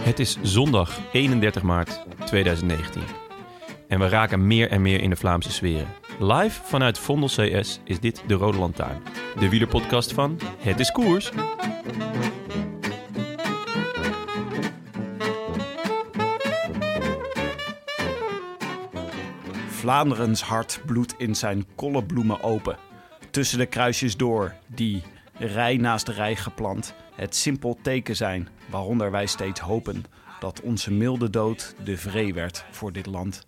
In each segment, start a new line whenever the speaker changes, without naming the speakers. Het is zondag 31 maart 2019. En we raken meer en meer in de Vlaamse sferen. Live vanuit Vondel CS is dit de Rode Lantaarn. De wielerpodcast van Het is Koers.
Vlaanderens hart bloedt in zijn kolle bloemen open. Tussen de kruisjes door, die, rij naast rij geplant, het simpel teken zijn waaronder wij steeds hopen dat onze milde dood de vree werd voor dit land.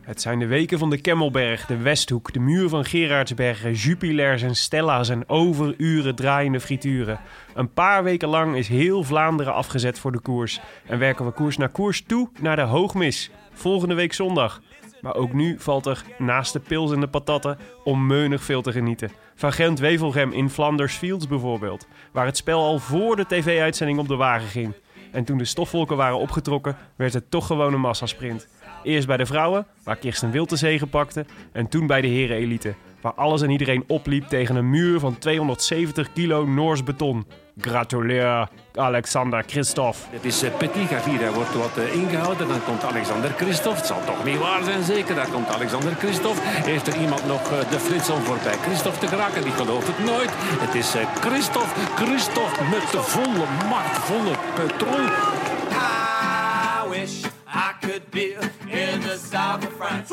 Het zijn de weken van de Kemmelberg, de Westhoek, de muur van Gerardsbergen, Jupilaires en Stella's en overuren draaiende frituren. Een paar weken lang is heel Vlaanderen afgezet voor de koers. En werken we koers naar koers toe naar de hoogmis. Volgende week zondag. Maar ook nu valt er, naast de pils en de patatten, onmeunig veel te genieten. Van Gent-Wevelgem in Flanders Fields bijvoorbeeld, waar het spel al voor de tv-uitzending op de wagen ging. En toen de stofwolken waren opgetrokken, werd het toch gewoon een massasprint. Eerst bij de vrouwen, waar Kirsten Wild de zege pakte, en toen bij de heren-elite, waar alles en iedereen opliep tegen een muur van 270 kilo Noors beton. Gratuleer, Alexander Christophe.
Het is eh, Petit Gavira wordt wat eh, ingehouden. Dan komt Alexander Christophe. Het zal toch niet waar zijn, zeker. Daar komt Alexander Christophe. Heeft er iemand nog eh, de flits om voorbij Christophe te geraken? Die gelooft het nooit. Het is eh, Christophe. Christophe met de volle macht, volle petrol.
I wish I could be in the south of France.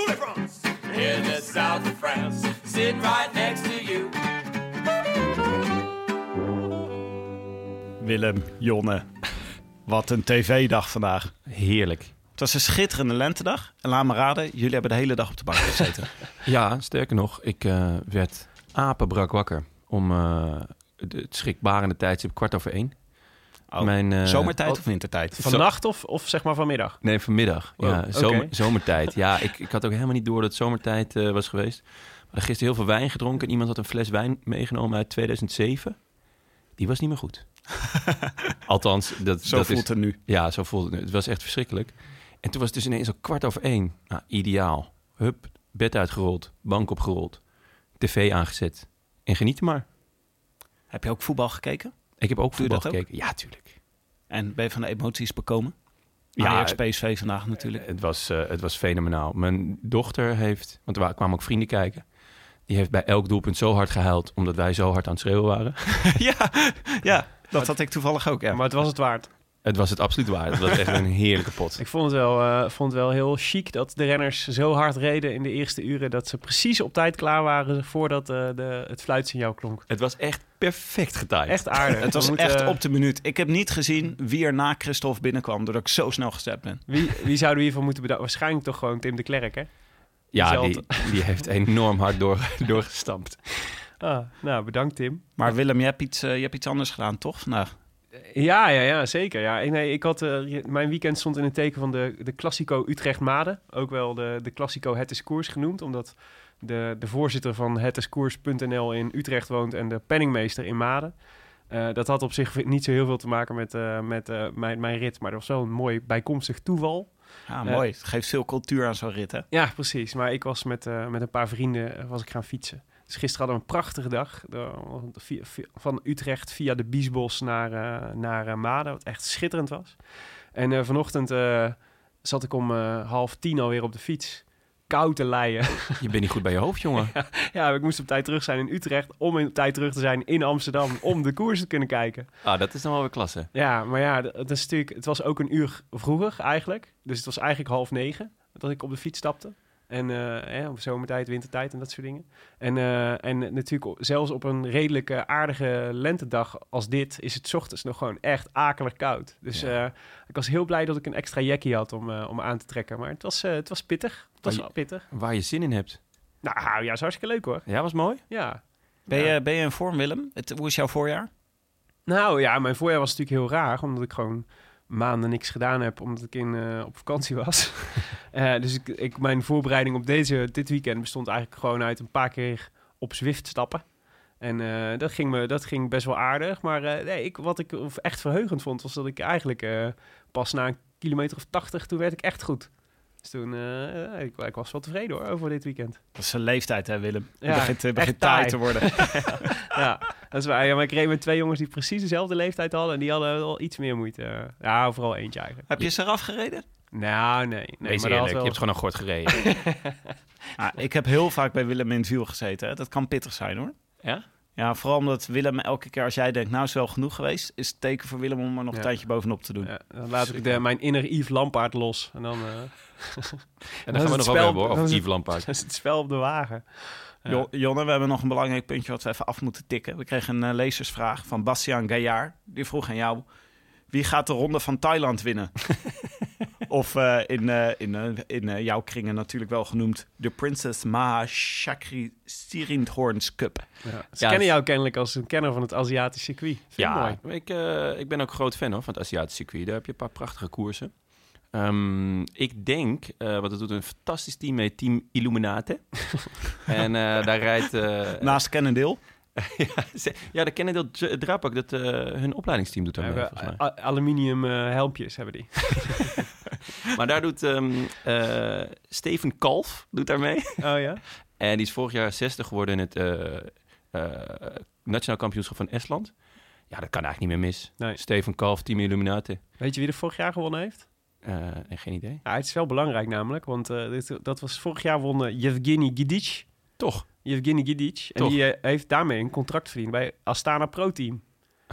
In the south of France. Sitting right next to you.
Willem, Jonne, wat een tv-dag vandaag.
Heerlijk.
Het was een schitterende lentedag. En laat me raden, jullie hebben de hele dag op de bank gezeten.
Ja, sterker nog, ik eh, werd apenbrak wakker om eh, het- het schrikbarende tijdstip kwart over één.
Oh,
Mijn, eh,
Zomertijd
wat-
of wintertijd?
Vannacht of, of zeg maar vanmiddag?
Nee, vanmiddag. ja,
oké.
zomer- zomertijd. Ja, ik, ik had ook helemaal niet door dat het zomertijd eh, was geweest. We hadden gisteren heel veel wijn gedronken. Iemand had een fles wijn meegenomen uit 2007. Die was niet meer goed. Althans, dat,
Zo
dat
voelt
is...
het nu.
Ja, zo voelde het. Het was echt verschrikkelijk. En toen was het dus ineens al kwart over één. Nou, ideaal. Hup, bed uitgerold, bank opgerold, tv aangezet. En geniet maar.
Heb je ook voetbal gekeken?
Ik heb ook
Doe je
voetbal
dat ook?
gekeken. Ja, tuurlijk.
En ben je van de emoties bekomen?
Ja,
Ja, Ajax PSV vandaag natuurlijk.
Het was, eh, het was fenomenaal. Mijn dochter heeft, want er wa- kwamen ook vrienden kijken. Die heeft bij elk doelpunt zo hard gehuild, omdat wij zo hard aan het schreeuwen waren.
ja, ja, dat had ik toevallig ook. Ja.
Maar het was het waard.
Het was het absoluut waar. Het was echt een heerlijke pot.
Ik vond het wel, eh, vond het wel heel chic dat de renners zo hard reden in de eerste uren dat ze precies op tijd klaar waren voordat eh, de, het fluitsignaal klonk.
Het was echt perfect getimed.
Echt aardig.
het was
We moeten-
echt op de minuut. Ik heb niet gezien wie er na Christophe binnenkwam, doordat ik zo snel gestapt ben.
Wie, wie zouden we hiervan moeten bedanken? Waarschijnlijk toch gewoon Tim de Klerk, hè?
Ja, die,
Zelden.
die heeft enorm hard door, doorgestampt.
Ah, nou, bedankt Tim.
Maar Willem, je hebt iets, eh, je hebt iets anders gedaan, toch? Vandaag.
Ja, ja, ja, zeker. Ja. Ik- Nee, ik had, eh, je- mijn weekend stond in het teken van de, de Classico Utrecht-Maden. Ook wel de, de Classico Het is Koers genoemd, omdat de, de voorzitter van hetiskoers.nl in Utrecht woont en de penningmeester in Maden. Eh, dat had op zich niet zo heel veel te maken met, eh, met eh, mijn, mijn rit. Maar dat was wel een mooi bijkomstig toeval.
Ja,
Ja.
mooi. Het geeft veel cultuur aan zo'n rit, hè?
Ja, precies. Maar ik was met, eh, met een paar vrienden eh, was ik gaan fietsen. Dus gisteren hadden we een prachtige dag. De- via- via- van Utrecht via de Biesbos naar, eh, naar eh, Maden, wat echt schitterend was. En eh, vanochtend eh, zat ik om eh, half tien alweer op de fiets. Koud te leien.
Je bent niet goed bij je hoofd, jongen.
ja, ik moest op tijd terug zijn in Utrecht om in- op tijd terug te zijn in Amsterdam om de koers te kunnen kijken.
Ah, dat is dan wel weer klasse.
Ja, maar ja, d- dat is natuurlijk, het was ook een uur vroeger eigenlijk. Dus het was eigenlijk half negen dat ik op de fiets stapte. En eh, hè, op zomertijd, wintertijd en dat soort dingen. En, eh, en natuurlijk o- zelfs op een redelijke aardige lentedag als dit... is het 's ochtends nog gewoon echt akelig koud. Dus eh, ik was heel blij dat ik een extra jackie had om, eh, om aan te trekken. Maar het was, eh, het was pittig. Het was
Maar je-
pittig.
Waar je zin in hebt.
Nou ja, het is hartstikke leuk hoor.
Ja, was mooi.
Ja.
Ben,
Ja.
je, ben je in vorm, Willem? Het, hoe is jouw voorjaar?
Nou ja, mijn voorjaar was natuurlijk heel raar, omdat ik gewoon maanden niks gedaan heb, omdat ik in, eh, op vakantie was. Eh, dus ik, ik, mijn voorbereiding op deze, dit weekend bestond eigenlijk gewoon uit een paar keer op Zwift stappen. En eh, dat, ging me, dat ging best wel aardig. Maar eh, nee, ik, wat ik echt verheugend vond, was dat ik eigenlijk eh, pas na een kilometer of tachtig, toen werd ik echt goed. Dus toen, eh, ik, ik was wel tevreden hoor, over dit weekend.
Dat is zijn leeftijd, hè, Willem?
Ja,
Ja, begint eh,
echt
begint
taai.
taai te worden.
ja, dat is waar. Ja, maar ik reed met twee jongens die precies dezelfde leeftijd hadden. En die hadden wel iets meer moeite. Ja, vooral eentje eigenlijk.
Heb je ze eraf gereden?
Nou, nee. nee
Wees
maar
eerlijk,
dat had
je
wel-
hebt gewoon een gort gereden.
Ah, ik heb heel vaak bij Willem in het wiel gezeten. Hè. Dat kan pittig zijn, hoor.
Ja?
Ja, vooral omdat Willem elke keer als jij denkt, nou is wel genoeg geweest, is het teken voor Willem om er nog
Ja.
een tijdje bovenop te doen.
Ja, dan laat ik de, mijn inner Yves Lampaard los. En dan eh,
En
Dat
dan
is
gaan we
het
nog wel
spel-
hebben hoor,
dat
over
is het-
Yves Lampaard.
dat is het spel op de wagen. Ja.
Jo- Jonne, we hebben nog een belangrijk puntje wat we even af moeten tikken. We kregen een eh, lezersvraag van Bastiaan Gaillard. Die vroeg aan jou, wie gaat de ronde van Thailand winnen? of eh, in, eh, in, eh, in eh, jouw kringen natuurlijk wel genoemd... de Princess Maha Chakri Sirindhorns Cup.
Ja. Ze
Ja,
kennen
het-
jou kennelijk als een kenner van het Aziatische circuit. Vind ik mooi.
Ja, ik, eh, ik ben ook groot fan hoor, van het Aziatische circuit. Daar heb je een paar prachtige koersen. Ehm, ik denk, eh want het doet een fantastisch team mee, Team Illuminate. en eh, daar rijdt... eh,
Naast Cannondale.
ja, ze- ja, de Kennedy Drapak, dat eh, hun opleidingsteam doet
We
daar mee,
hebben
volgens mij.
a- aluminium eh, helmpjes hebben die.
Maar daar doet ehm, eh, Steven Kalf doet daar mee.
Oh ja?
En die is vorig jaar 60 geworden in het eh, eh, Nationaal Kampioenschap van Estland. Ja, dat kan eigenlijk niet meer mis.
Nee.
Steven Kalf, Team Illuminate.
Weet je wie er vorig jaar gewonnen heeft?
Eh, nee, geen idee.
Ja, het is wel belangrijk namelijk, want eh, dit, dat was vorig jaar wonnen Yevgeny Gidic.
Toch?
Yevgeny Gidic. En
Toch.
die eh, heeft daarmee een contract verdiend bij Astana Pro Team.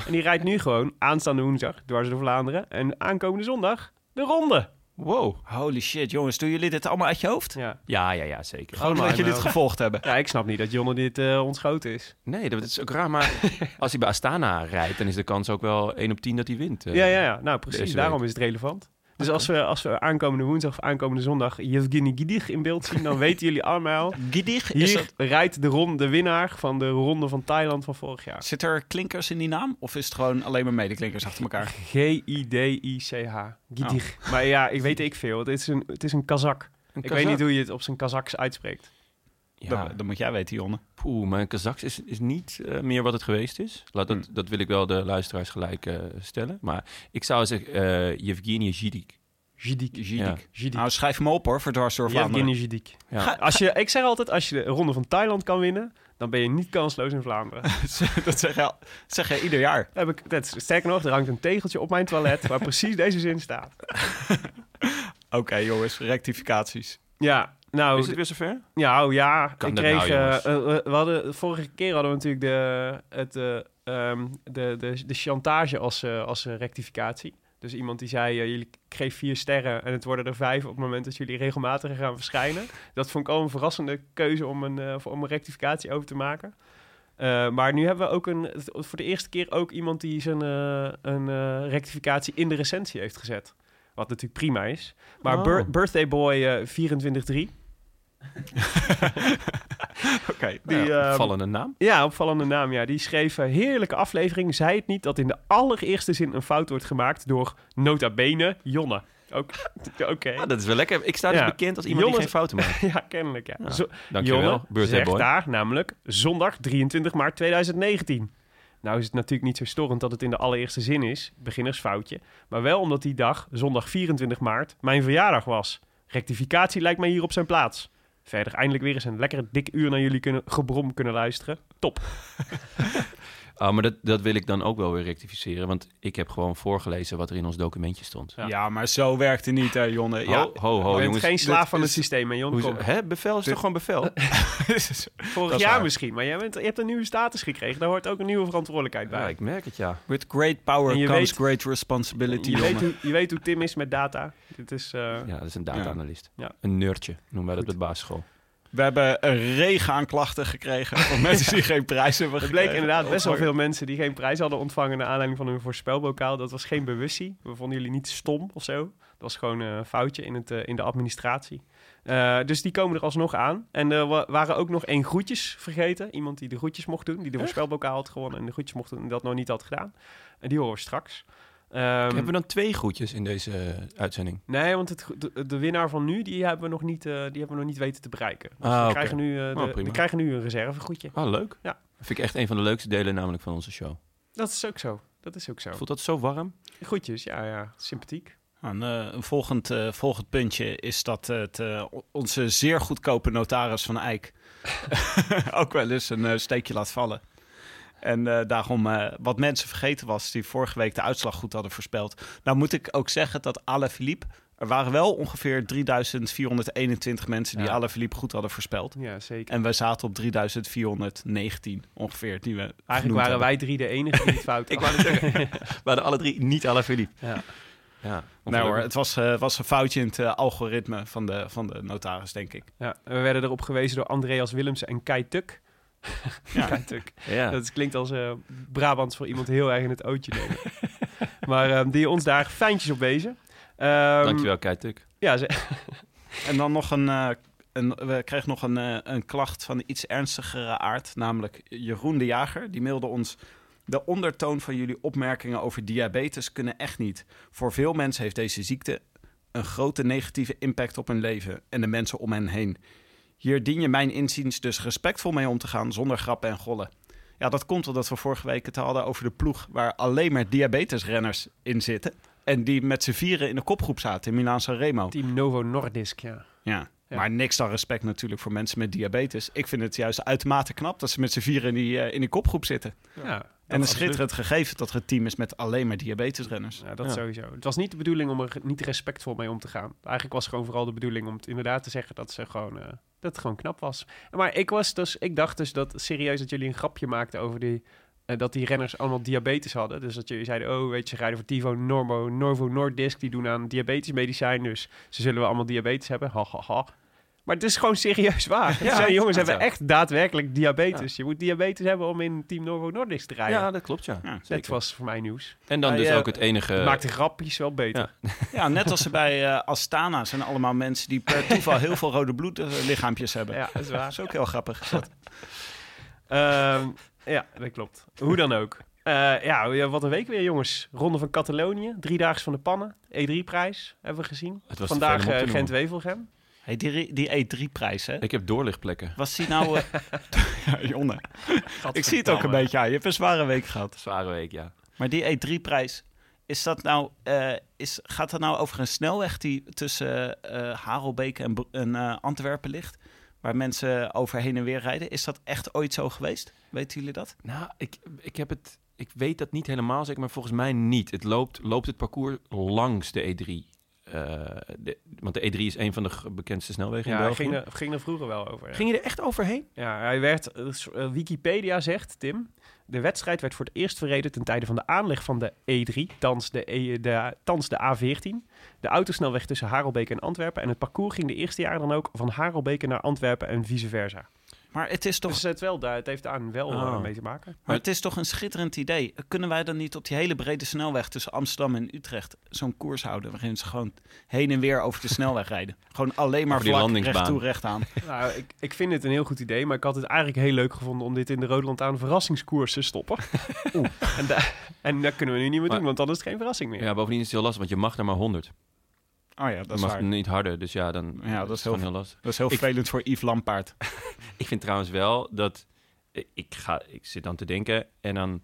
En die rijdt nu gewoon aanstaande woensdag dwars door Vlaanderen. En aankomende zondag de ronde.
Wow.
Holy shit, jongens, doen jullie dit allemaal uit je hoofd?
Ja,
Ja, ja, ja, zeker.
Gewoon omdat
maar,
jullie
eh,
Oh, dit gevolgd hebben.
ja ik snap niet dat Jonne dit eh, ontschoten is.
Nee, dat is ook raar. Maar als hij bij Astana rijdt, dan is de kans ook wel 1 op 10 dat hij wint. eh.
ja, ja, ja. Nou, precies.
deze
Daarom
week.
is het relevant. Dus als we, als we aankomende woensdag of aankomende zondag Yevgeny Gidic in beeld zien, dan weten jullie allemaal...
Gidig, is
Hier
dat-
rijdt de, ronde, de winnaar van de ronde van Thailand van vorig jaar.
Zit er klinkers in die naam? Of is het gewoon alleen maar medeklinkers achter elkaar?
G-I-D-I-C-H. Gidig. Maar ja, ik weet ik veel. Het is een, het is een kazak.
Een
Ik
Kazak.
weet niet hoe je het op zijn kazaks uitspreekt.
Ja,
Dat, dat moet jij weten, Jonne.
poeh, maar Kazaks is, is niet eh, meer wat het geweest is. Laat dat,
Hmm.
dat wil ik wel de luisteraars gelijk eh, stellen. Maar ik zou zeggen, eh Yevgeny Jidik.
Jidik.
Ja.
Gidik.
Jidik.
Nou, schrijf hem op hoor, voor dwars door Vlaanderen.
Yevgeny Jidik.
Ja.
Ga- Als je, ik zeg altijd, als je de ronde van Thailand kan winnen, dan ben je niet kansloos in Vlaanderen.
dat zeg jij, zeg jij ieder jaar.
Heb ik, dat, is- sterker nog, er hangt een tegeltje op mijn toilet waar precies deze zin staat.
Oké jongens, rectificaties.
Ja, nou,
Is het weer zover?
Ja, oh ja.
Kan
ik
dat
kreeg,
nou,
eh,
jongens?
eh, eh, we hadden, vorige keer hadden we natuurlijk de, het, eh, ehm, de, de, de chantage als, eh, als eh, rectificatie. Dus iemand die zei, eh, jullie kreeg vier sterren en het worden er vijf op het moment dat jullie regelmatig gaan verschijnen. Dat vond ik al een verrassende keuze om een, eh, voor- om een rectificatie over te maken. Eh, maar nu hebben we ook een, het- voor de eerste keer ook iemand die zijn eh, een eh, rectificatie in de recensie heeft gezet. Wat natuurlijk prima is. Maar
Oh.
Bir- Birthday Boy eh 243,
Oké.
die,
Nou ja,
ehm,
opvallende naam.
Ja, opvallende naam. Ja. Die schreef eh, heerlijke aflevering. Zei het niet dat in de allereerste zin een fout wordt gemaakt door nota bene Jonne. Ook, oké.
Ah, dat is wel lekker. Ik sta
eh, Ja.
dus bekend als iemand
Jongens-
die geen fouten maakt.
Ja, kennelijk. Ja.
Ja,
Zo-
Dankjewel,
Jonne
Birthday
zegt
Boy.
daar namelijk zondag 23 maart 2019. Nou is het natuurlijk niet zo storend dat het in de allereerste zin is, beginnersfoutje. Maar wel omdat die dag, zondag 24 maart, mijn verjaardag was. Rectificatie lijkt mij hier op zijn plaats. Verder eindelijk weer eens een lekker dik uur naar jullie kunnen, gebrom kunnen luisteren. Top.
Ah, maar dat, dat wil ik dan ook wel weer rectificeren. Want ik heb gewoon voorgelezen wat er in ons documentje stond.
Ja, maar zo werkt het niet, hè, Jonne. Ja,
Ho, ho, ho,
Je bent
Oh, jongens.
geen slaaf van
dit
het systeem, hè, Jon?
Hoezo?
Kom.
Hè, bevel is toch gewoon bevel?
Vorig
is
jaar
waar.
misschien, maar jij bent, je hebt een nieuwe status gekregen. Daar hoort ook een nieuwe verantwoordelijkheid bij.
Ja, ik merk het, ja.
with great power
En je
comes
weet-
great responsibility,
je, weet
Jonne.
hoe, je weet hoe Tim is met data. Dit is, eh,
Ja, dat is een data-analyst.
Ja. Ja.
Een nerdje, noemen wij dat bij de basisschool.
We hebben een regen aan klachten gekregen van mensen die geen prijs hebben
Er
gekregen.
bleek
Oh,
inderdaad best wel veel mensen die geen prijs hadden ontvangen naar aanleiding van hun voorspelbokaal. Dat was geen bewustzijn. We vonden jullie niet stom of zo. Dat was gewoon eh, een foutje in, het, eh, in de administratie. Eh, dus die komen er alsnog aan. En er wa- waren ook nog één groetjes vergeten. Iemand die de groetjes mocht doen, die de voorspelbokaal had gewonnen en de groetjes mocht doen en dat nog niet had gedaan. En die horen we straks. Ehm,
Hebben we dan twee groetjes in deze eh, uitzending?
Nee, want het, gro- de, de winnaar van nu, die hebben we nog niet, eh, die hebben we nog niet weten te bereiken. Dus
Ah,
we,
oké.
krijgen nu, eh, de-
Oh, prima.
we krijgen nu een reservegoedje.
Ah, leuk.
Ja.
Dat vind ik echt een van de leukste delen namelijk van onze show.
Dat is ook zo. Dat is ook zo.
Voelt dat zo warm?
Goedjes, ja, ja. Sympathiek.
Een, eh, een volgend, eh, volgend puntje is dat het, eh, o- onze zeer goedkope notaris van Eijk ook wel eens een eh, steekje laat vallen. En eh, daarom, eh, wat mensen vergeten was, die vorige week de uitslag goed hadden voorspeld. Nou moet ik ook zeggen dat Alain Philippe, er waren wel ongeveer 3421 mensen die
Ja.
Alain Philippe goed hadden voorspeld.
Ja, zeker.
En we zaten op 3419 ongeveer, die we genoemd
Eigenlijk waren
hebben.
wij drie de enige die het fout
Ik
hadden.
wou het zeggen. We hadden alle drie niet alle Philippe.
Ja.
Ja.
Nou hoor, het was, eh, was een foutje in het eh, algoritme van de, van de notaris, denk ik.
Ja, we werden erop gewezen door Andreas Willemsen en Kai Tuk.
Ja.
Kai Tuk.
Ja.
Dat klinkt als eh Brabants voor iemand heel erg in het ootje nemen. maar ehm, die ons daar fijntjes op wezen. Ehm,
Dankjewel, Keituk.
Ja, ze,
En dan nog een, eh, een we kregen nog een, eh, een klacht van iets ernstigere aard, namelijk Jeroen de Jager. Die mailde ons, de ondertoon van jullie opmerkingen over diabetes kunnen echt niet. Voor veel mensen heeft deze ziekte een grote negatieve impact op hun leven en de mensen om hen heen. Hier dien je mijn inziens dus respectvol mee om te gaan, zonder grappen en gollen. Ja, dat komt omdat we vorige week het hadden over de ploeg waar alleen maar diabetesrenners in zitten. En die met z'n vieren in de kopgroep zaten in Milaan San Remo.
Team Novo Nordisk, ja.
Ja.
Ja.
Maar niks dan respect natuurlijk voor mensen met diabetes. Ik vind het juist uitermate knap dat ze met z'n vieren in die, eh, in die kopgroep zitten.
ja.
en een
absoluut.
schitterend gegeven dat er een team is met alleen maar diabetesrenners.
Ja, dat
Ja.
sowieso. Het was niet de bedoeling om er ge- niet respectvol mee om te gaan. Eigenlijk was gewoon vooral de bedoeling om het inderdaad te zeggen dat ze gewoon, eh, dat het gewoon knap was. Maar ik, was dus, ik dacht dus dat serieus dat jullie een grapje maakten over die, eh, dat die renners allemaal diabetes hadden. Dus dat jullie zeiden, oh weet je, ze rijden voor Tivo Normo, Norvo Nordisk. Die doen aan diabetesmedicijn, dus ze zullen wel allemaal diabetes hebben. Ha, ha, ha. Maar het is gewoon serieus waar.
Ja,
Ja, zijn jongens
ja,
hebben
ja.
echt daadwerkelijk diabetes. Je moet diabetes hebben om in Team Norvo Nordisk te rijden.
Ah, Ja, dat klopt, ja.
Ja.
dat
Zeker.
was voor mij nieuws.
En dan
Ah,
dus
ja.
ook het enige...
Maakt de grapjes wel beter.
Ja.
Ja, net als ze bij eh, Astana zijn allemaal mensen die per toeval heel veel rode bloedlichaampjes hebben.
Ja, dat is
Dat
waar.
is ook heel grappig. is dat.
Ehm, ja, dat klopt. Hoe dan ook. Eh, ja, ja, wat een week weer, jongens. Ronde van Catalonië, driedaags van de pannen. E3-prijs hebben we gezien.
Het was te veel
Vandaag
om op te
eh,
noemen.
Gent-Wevelgem.
Hey, die, die E3-prijs, hè?
Ik heb doorlichtplekken.
Was die nou... eh, ja, Jonne, ik zie het ook een beetje aan. Je hebt een zware week gehad.
Zware week, ja.
Maar die E3-prijs, is dat nou, eh, is, gaat dat nou over een snelweg die tussen eh Harelbeke en, Bro- en eh, Antwerpen ligt? Waar mensen over heen en weer rijden. Is dat echt ooit zo geweest? Weten jullie dat?
Nou, ik, ik heb het... Ik weet dat niet helemaal zeker, maar volgens mij niet. Het loopt, loopt het parcours langs de E3. Eh, de- want de E3 is een van de g- bekendste snelwegen in
Ja,
België.
ging er, ging er vroeger wel over. Ja.
Ging je er echt overheen?
Ja, hij werd, eh, s- eh, Wikipedia zegt, Tim, de wedstrijd werd voor het eerst verreden ten tijde van de aanleg van de E3, thans de, E- de, thans de A14. De autosnelweg tussen Harelbeke en Antwerpen. En het parcours ging de eerste jaren dan ook van Harelbeke naar Antwerpen en vice versa.
Maar het is toch,
Dus het, wel, daar- het heeft daar wel
Oh.
eh, mee te maken.
maar het is toch een schitterend idee. Kunnen wij dan niet op die hele brede snelweg tussen Amsterdam en Utrecht zo'n koers houden? Waarin ze gewoon heen en weer over de snelweg rijden. Gewoon alleen maar
Over die
vlak,
landingsbaan.
recht toe, recht aan.
Nou, ik, ik vind het een heel goed idee, maar ik had het eigenlijk heel leuk gevonden om dit in de Roodland aan verrassingskoers te stoppen. En, da- en dat kunnen we nu niet meer
Maar-
doen, want dan is het geen verrassing meer.
Ja, bovendien is het heel lastig, want je mag daar maar 100.
Oh ja,
Je
dat is
mag
waar.
niet harder, dus ja, dan
Ja, dat
het
is heel-
gewoon heel lastig.
Dat is heel
Ik-
vervelend voor Yves Lampaard.
eh, Ik vind trouwens wel dat ik ga, ik zit dan te denken en dan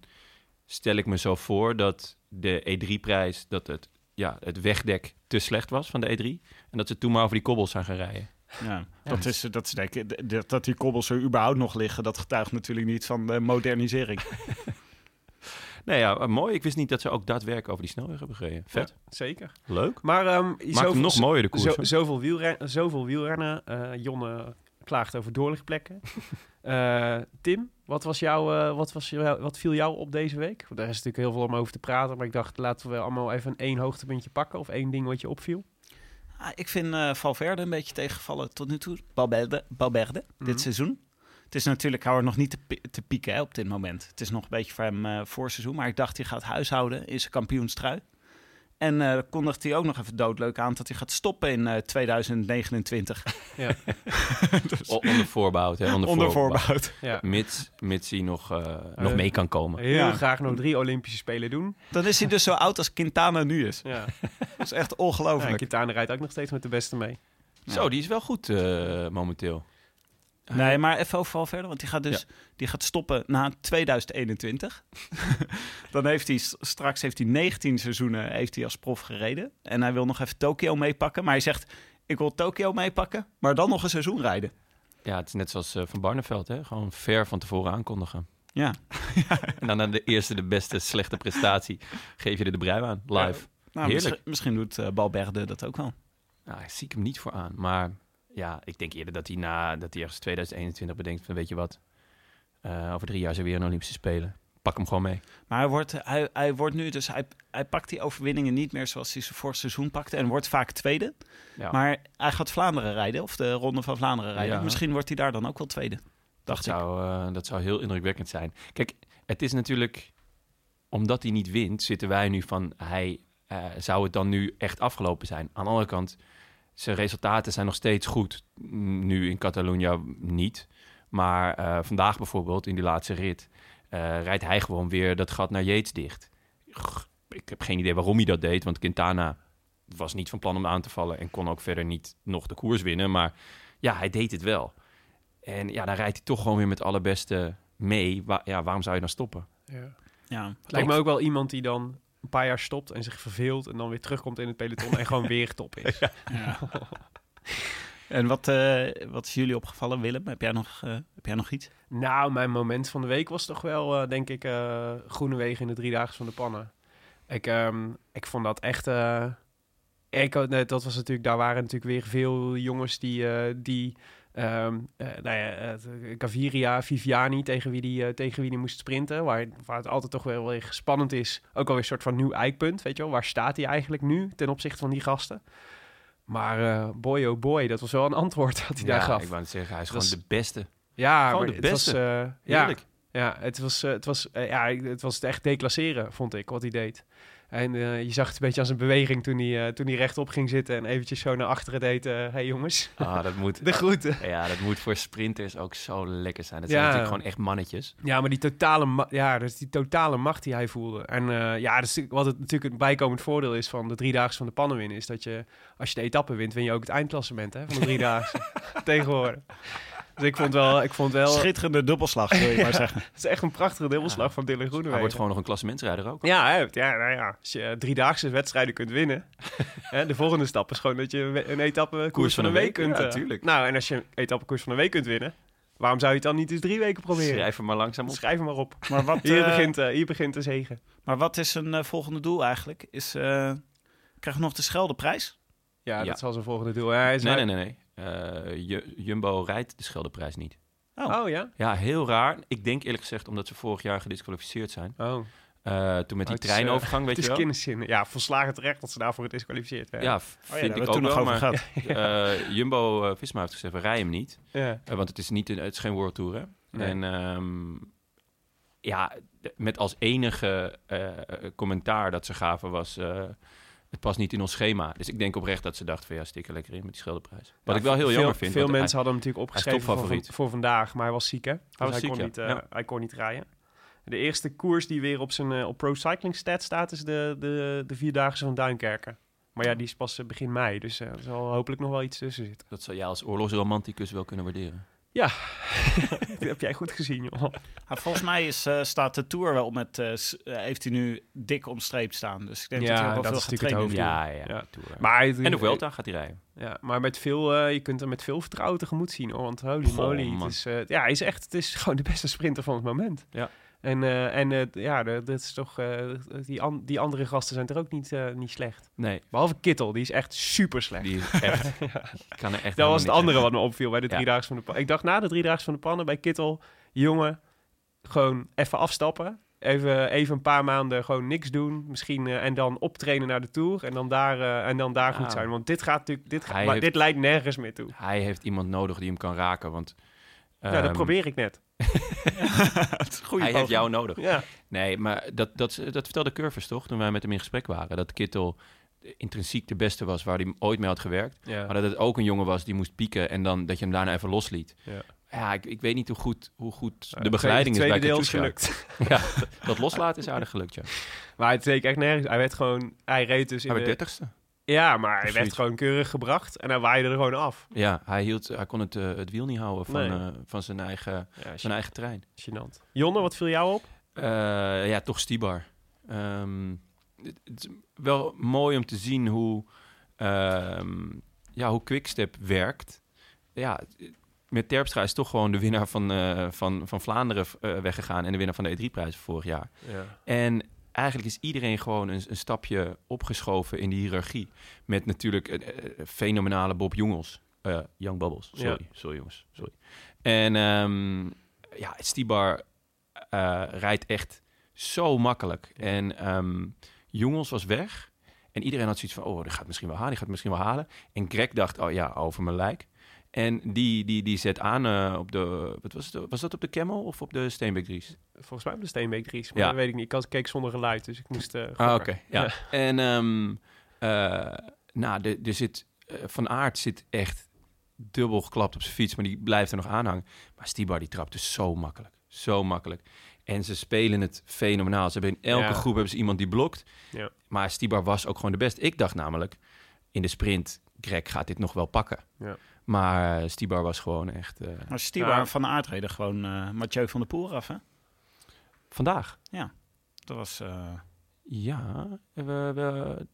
stel ik me zo voor dat de E3-prijs, dat het, ja, het wegdek te slecht was van de E3. En dat ze toen maar over die kobbels zijn gaan rijden.
Ja, dus- dat, is, eh, dat, is, denk ik- dat, dat die kobbels er überhaupt nog liggen, dat getuigt natuurlijk niet van eh, modernisering.
Nou ja, eh, mooi. Ik wist niet dat ze ook daadwerkelijk over die snelweg hebben gereden. Vet.
Zeker.
Leuk.
Maar ehm,
Maakt
zoveel-
hem nog mooier, de koers.
Zo,
hoor.
zoveel, wielren, zoveel wielrennen. Eh, Jonne klaagt over doorlichtplekken. Eh, Tim, wat, was jouw, eh, wat, was, jouw- wat viel jou op deze week? Want Daar is natuurlijk heel veel om over te praten. Maar ik dacht, laten we allemaal even één hoogtepuntje pakken. Of één ding wat je opviel.
Ah, ik vind eh, Valverde een beetje tegengevallen tot nu toe. Balberde, Balberde
Mhm.
dit seizoen. Het is natuurlijk, hou er nog niet te, pi- te pieken hè, op dit moment. Het is nog een beetje voor hem eh voorseizoen. Maar ik dacht, hij gaat huishouden in zijn kampioenstrui. En eh kondigt hij ook nog even doodleuk aan dat hij gaat stoppen in eh, 2029.
O- Onder voorbehoud, hè? Onder,
Onder
voorbehoud.
voorbehoud.
Ja.
Mits, mits hij nog, eh, nog
Eh,
mee kan komen.
Heel
Ja.
graag nog drie Olympische Spelen doen.
Dan is hij dus zo oud als Quintana nu is.
Ja.
Dat is echt
Ja,
ongelooflijk.
Kitana rijdt ook nog steeds met de beste mee.
Zo, die is wel goed eh, momenteel.
Nee, maar even over Valverde, want die gaat dus die gaat stoppen na 2021. Dan heeft hij s- straks heeft hij 19 seizoenen heeft hij als prof gereden en hij wil nog even Tokio meepakken, maar hij zegt ik wil Tokio meepakken, maar dan nog een seizoen rijden.
Ja, het is net zoals eh, Van Barneveld, hè? Gewoon ver van tevoren aankondigen.
Ja.
En dan aan de eerste, de beste, slechte prestatie geef je er de brui aan, live. Heerlijk.
Nou, misschien, misschien doet eh, Balberde dat ook wel.
Nou, ik zie ik hem niet voor aan. Maar ja, ik denk eerder dat hij na, dat hij ergens 2021 bedenkt van, weet je wat, eh, over drie jaar zijn weer een Olympische Spelen. Pak hem gewoon mee.
Maar hij wordt, hij, hij wordt nu dus hij, hij pakt die overwinningen niet meer zoals hij ze vorig seizoen pakte en wordt vaak tweede.
Ja.
Maar hij gaat Vlaanderen rijden of de ronde van Vlaanderen rijden.
Ja.
Misschien wordt hij daar dan ook wel tweede. Dacht
Dat
ik.
zou, eh, dat zou heel indrukwekkend zijn. Kijk, het is natuurlijk... Omdat hij niet wint, zitten wij nu van... Hij, eh, zou het dan nu echt afgelopen zijn? Aan de andere kant, zijn resultaten zijn nog steeds goed. Mm, Nu in Catalonia niet. Maar eh, vandaag bijvoorbeeld, in die laatste rit... eh, rijdt hij gewoon weer dat gat naar Yates dicht. G- Ik heb geen idee waarom hij dat deed, want Quintana was niet van plan om aan te vallen... en kon ook verder niet nog de koers winnen. Maar ja, hij deed het wel. En ja, dan rijdt hij toch gewoon weer met alle beste mee. Wa- ja, waarom zou je dan stoppen?
Ja.
Lijkt me ook wel iemand die dan een paar jaar stopt en zich verveelt. En dan weer terugkomt in het peloton en gewoon weer top is.
En wat, eh, wat is jullie opgevallen, Willem? Heb jij nog, eh, heb jij nog iets?
Nou, mijn moment van de week was toch wel, eh, denk ik, eh Groene Wegen in de Driedaagse van de Pannen. Ik, ehm, ik vond dat echt... eh, ik, had- nee, dat was natuurlijk, daar waren natuurlijk weer veel jongens die... eh, die ehm eh, nou ja, het- Gaviria, Viviani, tegen wie die, eh, tegen wie die moest sprinten. Waar, waar het altijd toch wel weer spannend is. Ook alweer een soort van nieuw eikpunt, weet je wel. Waar staat hij eigenlijk nu ten opzichte van die gasten? Maar eh, boy oh boy, dat was wel een antwoord dat hij daar gaf.
ik wou net zeggen, hij is
Dat
gewoon de beste.
Ja,
Gewoon
maar
de
het
beste.
was, eh, ja,
Heerlijk.
ja, het was, eh, het was, eh, ja, ik- het was echt declasseren, vond ik, wat hij deed. En eh, je zag het een beetje aan zijn beweging toen hij, eh, toen hij rechtop ging zitten en eventjes zo naar achteren deed. Hé hey jongens,
Ah, dat moet,
de groeten.
ja, dat moet voor sprinters ook zo lekker zijn. Dat
Ja.
zijn natuurlijk gewoon echt mannetjes.
Ja, maar die totale, ma- ja, dus die totale macht die hij voelde. En eh, ja, dat is natuurlijk- wat het natuurlijk het bijkomend voordeel is van de driedaagse van de pannen winnen, is dat je, als je de etappe wint, win je ook het eindklassement hè, van de driedaagse tegenwoordig. Dus ik vond wel, ik vond wel, het
Schitterende dubbelslag, wil je maar zeggen.
is echt een prachtige dubbelslag van Dylan Groenewegen.
Hij wordt gewoon nog een klassementsrijder ook.
Ja, hè, ja, nou ja, als je eh, driedaagse wedstrijden kunt winnen. hè, de volgende stap is gewoon dat je een we- een etappe koers, van een week, kunt.
ja,
eh,
tuurlijk.
Nou, en als je een etappe koers van een week kunt winnen, waarom zou je het dan niet eens drie weken proberen? Schrijf,
Schrijf hem maar langzaam op.
hem maar op.
Maar wat,
Hier,
eh,
begint, eh, hier begint de zegen.
maar wat is een eh, volgende doel eigenlijk? Is, eh krijgen we nog de Scheldeprijs?
Ja,
ja.
dat zal zijn volgende doel. Ja, hij is
Nee, nee,
uit-
nee. nee. Eh, Ju- Jumbo rijdt de Scheldeprijs niet.
nee.
Oh ja?
Ja, heel raar. Ik denk eerlijk gezegd omdat ze vorig jaar gedisqualificeerd zijn.
Oh,
Eh, toen met die
het is, eh,
treinovergang,
het
weet
is
je wel.
kinderzin. Ja, volslagen terecht dat ze daarvoor gedisqualificeerd werden.
Ja, vind
daar
ik
hebben we het
ook
toen nog
wel.
over
Maar
gehad.
eh, Jumbo eh, Visma heeft gezegd, we rijden hem niet.
Ja.
Eh, want het is, niet een, het is geen World Tour, hè?
Nee.
En ehm, ja, d- met als enige eh, commentaar dat ze gaven was... eh, het past niet in ons schema. Dus ik denk oprecht dat ze dacht van... ja, stik er lekker in met die schilderprijs. Wat
Ja,
ik wel heel
veel-
jammer vind.
Veel
want
mensen hadden hem natuurlijk
is
opgeschreven voor, van-
topfavoriet.
voor vandaag, maar hij was ziek hè? Dus hij,
was ziek,
kon
ja.
niet, eh,
Ja.
hij kon niet rijden. De eerste koers die weer op zijn eh, op Pro Cycling Stat staat is de, de, de Vierdaagse van Duinkerken. Maar ja, die is pas eh, begin mei, dus eh, er zal hopelijk nog wel iets tussen zitten.
hij- dat zou jij als oorlogsromanticus wel kunnen waarderen.
Ja, dat heb jij goed gezien, joh.
Ah, volgens mij is, eh, staat de Tour wel met... eh, s- eh, heeft hij nu dik omstreep staan. Dus ik denk dat hij
Ja,
ook wel
dat
veel
is natuurlijk het
getraind heeft.
Ja, ja.
Ja.
Tour.
Maar,
en de Vuelta gaat hij rijden.
Ja, maar met veel, eh, je kunt hem met veel vertrouwen tegemoet zien. Hoor, want holy
Goh,
moly,
man.
het is, eh, ja, hij is echt het is gewoon de beste sprinter van het moment.
Ja.
En, eh, en eh, ja, de- dat is toch, eh, die, an- die andere gasten zijn er ook niet, eh, niet slecht.
Nee,
Behalve Kittel, die is echt super slecht.
die is echt... ik kan er echt
Dat was het
helemaal niks
andere wat me opviel bij de
Ja.
driedaags van de pannen. Ik dacht na de driedaags van de pannen bij Kittel, jongen, gewoon even afstappen. Even, even een paar maanden gewoon niks doen. Misschien eh, en dan optrainen naar de tour. En dan daar, eh, en dan daar
Ja.
goed zijn. Want dit gaat natuurlijk. Dit, gaat-
Hij
maar
heeft-
dit leidt nergens meer toe.
aan. Hij heeft iemand nodig die hem kan raken, want...
ja, dat
ehm,
probeer ik net.
Goeie
Hij heeft
poging.
jou nodig.
Ja.
Nee, maar dat, dat, dat vertelde Curvers toch, toen wij met hem in gesprek waren. Dat Kittel intrinsiek de beste was waar hij ooit mee had gewerkt. Maar dat het ook een jongen was die moest pieken en dan dat je hem daarna even losliet.
Ja.
Ja, ik, ik weet niet hoe goed, hoe goed
Ja,
de begeleiding
tweede,
is bij
tweede deel
Katusha.
is gelukt.
Ja, dat- dat loslaten is aardig gelukt, ja.
Maar het leek echt nergens. Hij werd gewoon. Hij reed dus in.
Hij werd
De,
dertigste.
ja, maar hij
Of
werd
zoiets.
gewoon keurig gebracht. En hij waaide er gewoon af.
Ja, hij, hield, hij kon het, eh, het wiel niet houden van,
Nee.
eh, van zijn, eigen,
Ja,
zijn eigen trein.
gênant. Jonne, wat viel jou op?
Eh, ja, toch Stibar. Ehm, het, het is wel mooi om te zien hoe, ehm, ja, hoe Quickstep werkt. Ja, met Terpstra is toch gewoon de winnaar van, eh, van, van Vlaanderen eh, weggegaan... en de winnaar van de E3-prijs vorig jaar. En eigenlijk is iedereen gewoon een, een stapje opgeschoven in de hiërarchie. Met natuurlijk een eh, fenomenale Bob Jongels. Eh Young Bubbles, sorry.
Ja.
Sorry jongens, sorry. En ehm, ja, Stibar eh, rijdt echt zo makkelijk. En ehm, Jongels was weg. En iedereen had zoiets van, oh, die gaat misschien wel halen, die gaat misschien wel halen. En Greg dacht, oh ja, over mijn lijk. En die, die, die zet aan eh, op de, wat was, het, was dat op de Camel of op de Steenbeek Dries?
Volgens mij op de Steenbeek 3. Maar
Ja.
dat weet ik niet. Ik had- keek zonder geluid, dus ik moest... eh, gokken.
Ah, oké. ja. En ehm, eh, nou, de- er zit, eh, Van Aert zit echt dubbel geklapt op zijn fiets, maar die blijft er nog aan hangen. Maar Stibar die trapt dus zo makkelijk. Zo makkelijk. En ze spelen het fenomenaal. Ze hebben in elke
Ja.
groep hebben ze iemand die blokt.
Ja.
Maar Stibar was ook gewoon de best. Ik dacht namelijk, in de sprint, Greg gaat dit nog wel pakken.
Ja.
Maar eh, Stibar was gewoon echt... eh,
Maar Stibar
Ja.
van de aardreden gewoon eh, Mathieu van der Poel af, hè?
vandaag.
Dat was... eh,
Ja. eh, We, we,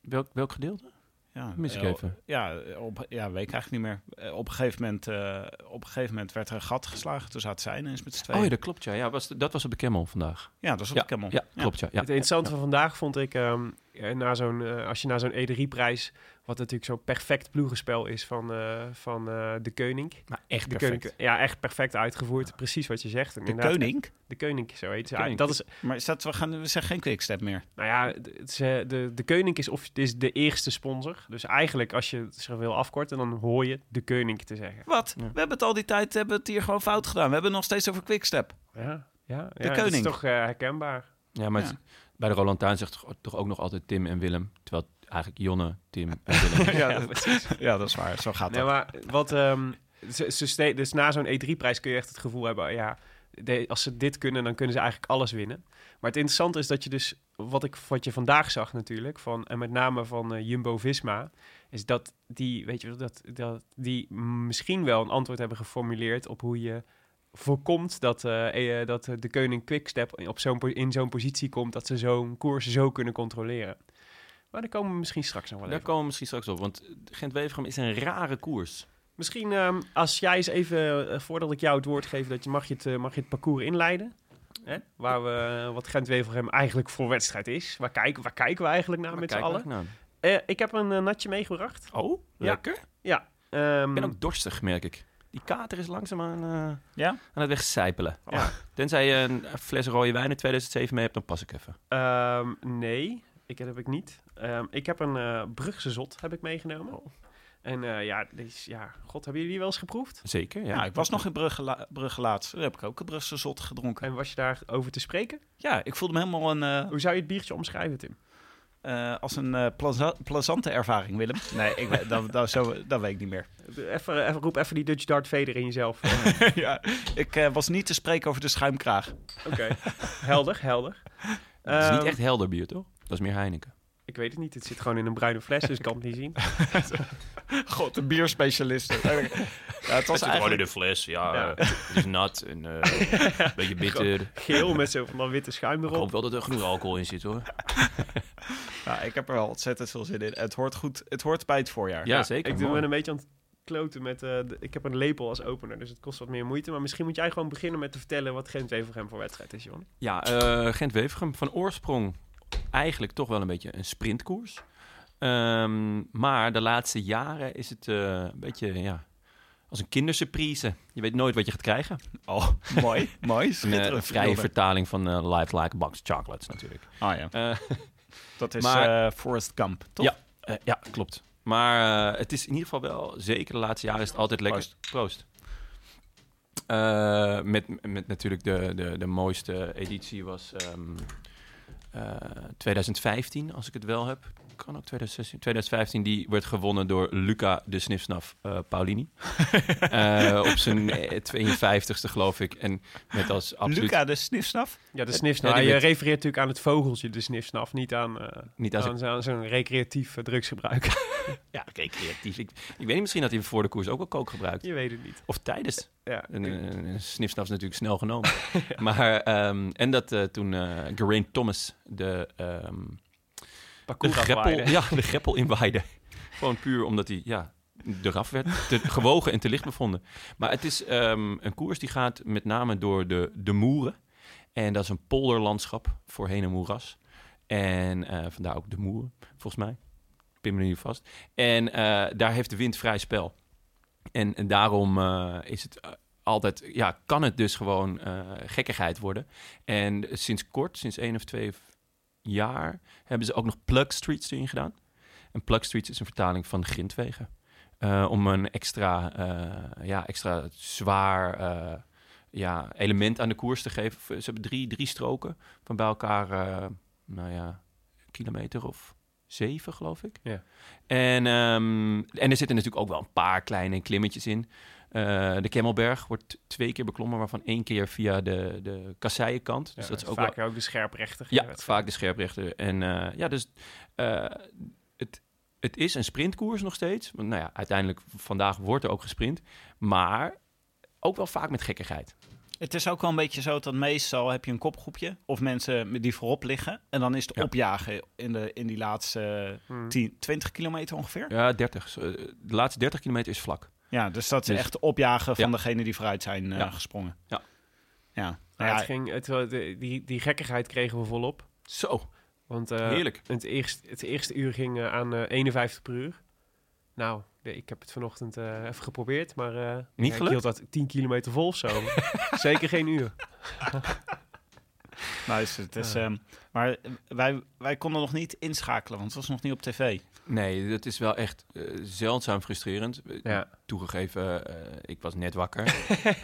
welk, welk gedeelte?
ja,
Mis ik
eh,
even.
Ja, op, ja, weet ik eigenlijk niet meer. Eh, Op een, gegeven moment, eh, op een gegeven moment werd er een gat geslagen. Toen zaten zij ineens met z'n tweeën.
Oh ja, dat klopt ja. ja was, dat was op de Camel vandaag.
ja, dat is op
ja,
de Camel.
Ja, klopt ja. ja.
Het interessante van vandaag vond ik, ehm, eh, na zo'n, eh, als je naar zo'n E3-prijs, wat natuurlijk zo'n perfect ploegenspel is van, eh, van eh, de Koning.
Maar nou, echt
De Koning, ja, echt perfect uitgevoerd. Precies wat je zegt.
De
Inderdaad,
koning?
De Koning, zo heet ze.
De Koning.
Dat is,
Maar is dat, we, gaan, we zeggen geen quickstep meer.
nou ja, d- het is, eh, de, de Koning is, of, het is de eerste sponsor. Dus eigenlijk, als je het zo wil afkorten, dan hoor je de Koning te zeggen.
Wat?
Ja.
We hebben het al die tijd hebben het hier gewoon fout gedaan. We hebben het nog steeds over quickstep.
Ja, ja,
De
ja, Dat is
Koning.
toch eh, herkenbaar.
Ja, maar
Ja.
het- bij de Roland Tuin zegt toch- toch ook nog altijd Tim en Willem. Terwijl het eigenlijk Jonne, Tim en Willem.
Ja, ja, dat is waar. Zo gaat
Nee,
dat.
maar wat... ehm, ze, ze ste- dus na zo'n E3-prijs kun je echt het gevoel hebben... ja, de- als ze dit kunnen, dan kunnen ze eigenlijk alles winnen. Maar het interessante is dat je dus... wat, ik, wat je vandaag zag natuurlijk... Van, en met name van eh, Jumbo-Visma... is dat die, weet je, wel, dat, dat die misschien wel een antwoord hebben geformuleerd... op hoe je voorkomt dat, eh, eh, dat eh, de koning Quickstep op zo'n, po- in zo'n positie komt... dat ze zo'n koers zo kunnen controleren. Maar daar komen we misschien straks nog wel
Daar
even.
komen we misschien straks op. Want Gent-Wevergem is een rare koers.
Misschien ehm, als jij eens even, eh, voordat ik jou het woord geef, dat je, mag, je het, eh, mag je het parcours inleiden. Hè? Waar we, eh, wat Gent-Wevelgem eigenlijk voor wedstrijd is. Waar kijken, waar kijken we eigenlijk naar
Waar
met z'n
kijken we
allen?
eigenlijk
Eh, ik heb een eh, natje meegebracht.
naar? Oh,
Ja.
lekker.
Ehm,
Ik ben ook dorstig, merk ik. Die kater is langzaamaan aan, eh,
Ja?
aan het wegcijpelen.
Ja.
Tenzij je een fles rode wijn in 2007 mee hebt, dan pas ik even.
ehm, nee, ik, dat heb ik niet. Ehm, ik heb een eh Brugse zot heb ik meegenomen. En eh, ja, die is- ja, god, hebben jullie die wel eens geproefd?
Zeker, ja.
Ja, ik was nog in Brugge, la- Brugge laatst. Daar heb ik ook een Brugse zot gedronken.
En was je daarover te spreken?
Ja, ik voelde me helemaal een, eh,
Hoe zou je het biertje omschrijven, Tim?
eh, als een eh, plaza- plazante ervaring, Willem. Nee, ik, weet- dat, dat, zo, dat weet ik niet meer.
Even, even, roep even die Dutch Dart Vader in jezelf.
ja, ik eh, was niet te spreken over de schuimkraag.
Oké, helder, helder.
Het is
Ehm,
niet echt helder bier, toch? Dat is meer Heineken.
Ik Ik weet het niet. Het zit gewoon in een bruine fles, dus ik kan het niet zien.
God, de bierspecialisten. ja, het was eigenlijk...
de fles, ja. eh, Het is nat en een beetje bitter.
Geel met zo van dat witte schuim erop.
wel dat er genoeg alcohol in zit, hoor.
Ja, ik heb er wel ontzettend veel zin in. Het hoort, goed, het hoort bij het voorjaar.
Ja, zeker.
Ik doe me een beetje aan het kloten met... eh, de- ik heb een lepel als opener, dus het kost wat meer moeite. Maar misschien moet jij gewoon beginnen met te vertellen... wat Gent Wevergem voor wedstrijd is, Jon.
Ja, eh, Gent-Wevergem van oorsprong eigenlijk toch wel een beetje een sprintkoers. Ehm, maar de laatste jaren is het eh, een beetje ja, als een kindersurprise. Je weet nooit wat je gaat krijgen.
Oh, mooi. mooi.
Een eh,
Schitterend.
vrije vertaling van eh, Life Like a Box Chocolates natuurlijk.
Ah ja,
Eh,
dat is
Maar-
eh, Forrest Gump, toch?
Ja, eh, ja klopt. Maar eh, het is in ieder geval wel, zeker de laatste jaren is het altijd lekker. Proost. Eh, met, met natuurlijk de, de, de mooiste editie was ehm, eh, 2015, als ik het wel heb. Kan ook 2016. 2015, die werd gewonnen door Luca de Snifsnaf eh, Paulini. Eh, op zijn eh, 52ste, geloof ik. En met als absoluut
Luca de Snifsnaf?
Ja, de
Ja,
snifsnaf.
die
je
wit.
refereert natuurlijk aan het vogeltje, de snifsnaf. Niet aan, eh,
Niet aan zijn-
aan, zo'n- zo'n recreatief eh, drugsgebruik.
Ja, recreatief. Ik, ik weet niet, misschien had hij voor de koers ook al kook gebruikt.
je weet het niet.
Of tijdens.
Ja.
Een, eh, een, een snifsnaf is natuurlijk snel genomen. Maar, ehm, en dat eh, toen eh Geraint Thomas de, ehm de,
Parcours
greppel,
afwaaien.
ja, de greppel inwaaide. Gewoon puur omdat hij ja, eraf werd, te, gewogen en te licht bevonden. Maar het is ehm, een koers die gaat met name door de, de Moeren. En dat is een polderlandschap, voorheen een moeras. En eh, vandaar ook de Moeren, volgens mij. Pin me nu niet vast. En eh, daar heeft de wind vrij spel. En, en daarom eh, is het eh, altijd, ja, kan het dus gewoon eh, gekkigheid worden. En sinds kort, sinds één of twee jaar, hebben ze ook nog plug streets erin gedaan. En plug streets is een vertaling van grindwegen. Eh, om een extra, eh, ja, extra zwaar eh, ja, element aan de koers te geven. Ze hebben drie, drie stroken van bij elkaar, eh, nou ja, een kilometer of zeven, geloof ik.
Ja.
En, ehm, en er zitten natuurlijk ook wel een paar kleine klimmetjes in. Eh, de Kemmelberg wordt twee keer beklommen, waarvan één keer via de, de kasseienkant. Dus
Ja,
dat is ook wel
vaak ook de scherprechter.
ja, vaak de scherprechter. En eh, ja, dus eh, het, het is een sprintkoers nog steeds. Want nou ja, uiteindelijk v- vandaag wordt er ook gesprint. Maar ook wel vaak met gekkigheid.
Het is ook wel een beetje zo dat meestal heb je een kopgroepje of mensen met- die voorop liggen. En dan is het
Ja.
opjagen in, de, in die laatste
Hmm.
10, 20 kilometer ongeveer. Ja,
Ja, 30. Zo, eh, De laatste 30 kilometer is vlak.
dus dat is
Dus-
echt opjagen van
Ja.
degene die vooruit zijn eh,
Ja.
gesprongen.
Ja.
ja.
Maar
Nou
het
ja,
ging, het, wa- de- die, die gekkigheid kregen we volop.
Zo,
Want eh,
heerlijk.
Het eerste, het eerste uur ging eh, aan eh, 51 per uur. Nou, de- ik heb het vanochtend eh, even geprobeerd, maar eh, ja, ik
gelukt?
hield dat 10 kilometer vol of zo. Zeker geen uur.
nou is het het is, ehm, maar wij, wij konden nog niet inschakelen, want het was nog niet op tv.
Nee, dat is wel echt eh, zeldzaam frustrerend. Eh,
Ja.
Toegegeven, eh, ik was net wakker.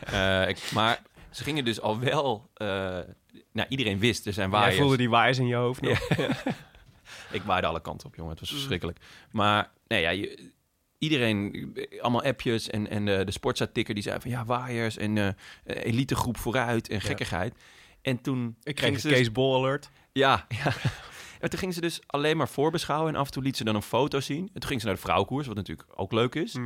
Eh, ik, maar ze gingen dus al wel... eh, nou, iedereen wist, er zijn
Jij
waaiers.
voelde die waaiers in je hoofd nog.
Ik waaide alle kanten op, jongen. Het was verschrikkelijk. Maar nee, ja, je- iedereen, allemaal appjes en, en de, de sportza-tikker die zei van... ja, waaiers en eh elitegroep vooruit en gekkigheid. En toen
Ik kreeg
gingen ze
een
dus-
Kees Bol alert.
Ja, ja. En toen gingen ze dus alleen maar voorbeschouwen... en af en toe liet ze dan een foto zien. En toen ging ze naar de vrouwenkoers, wat natuurlijk ook leuk is.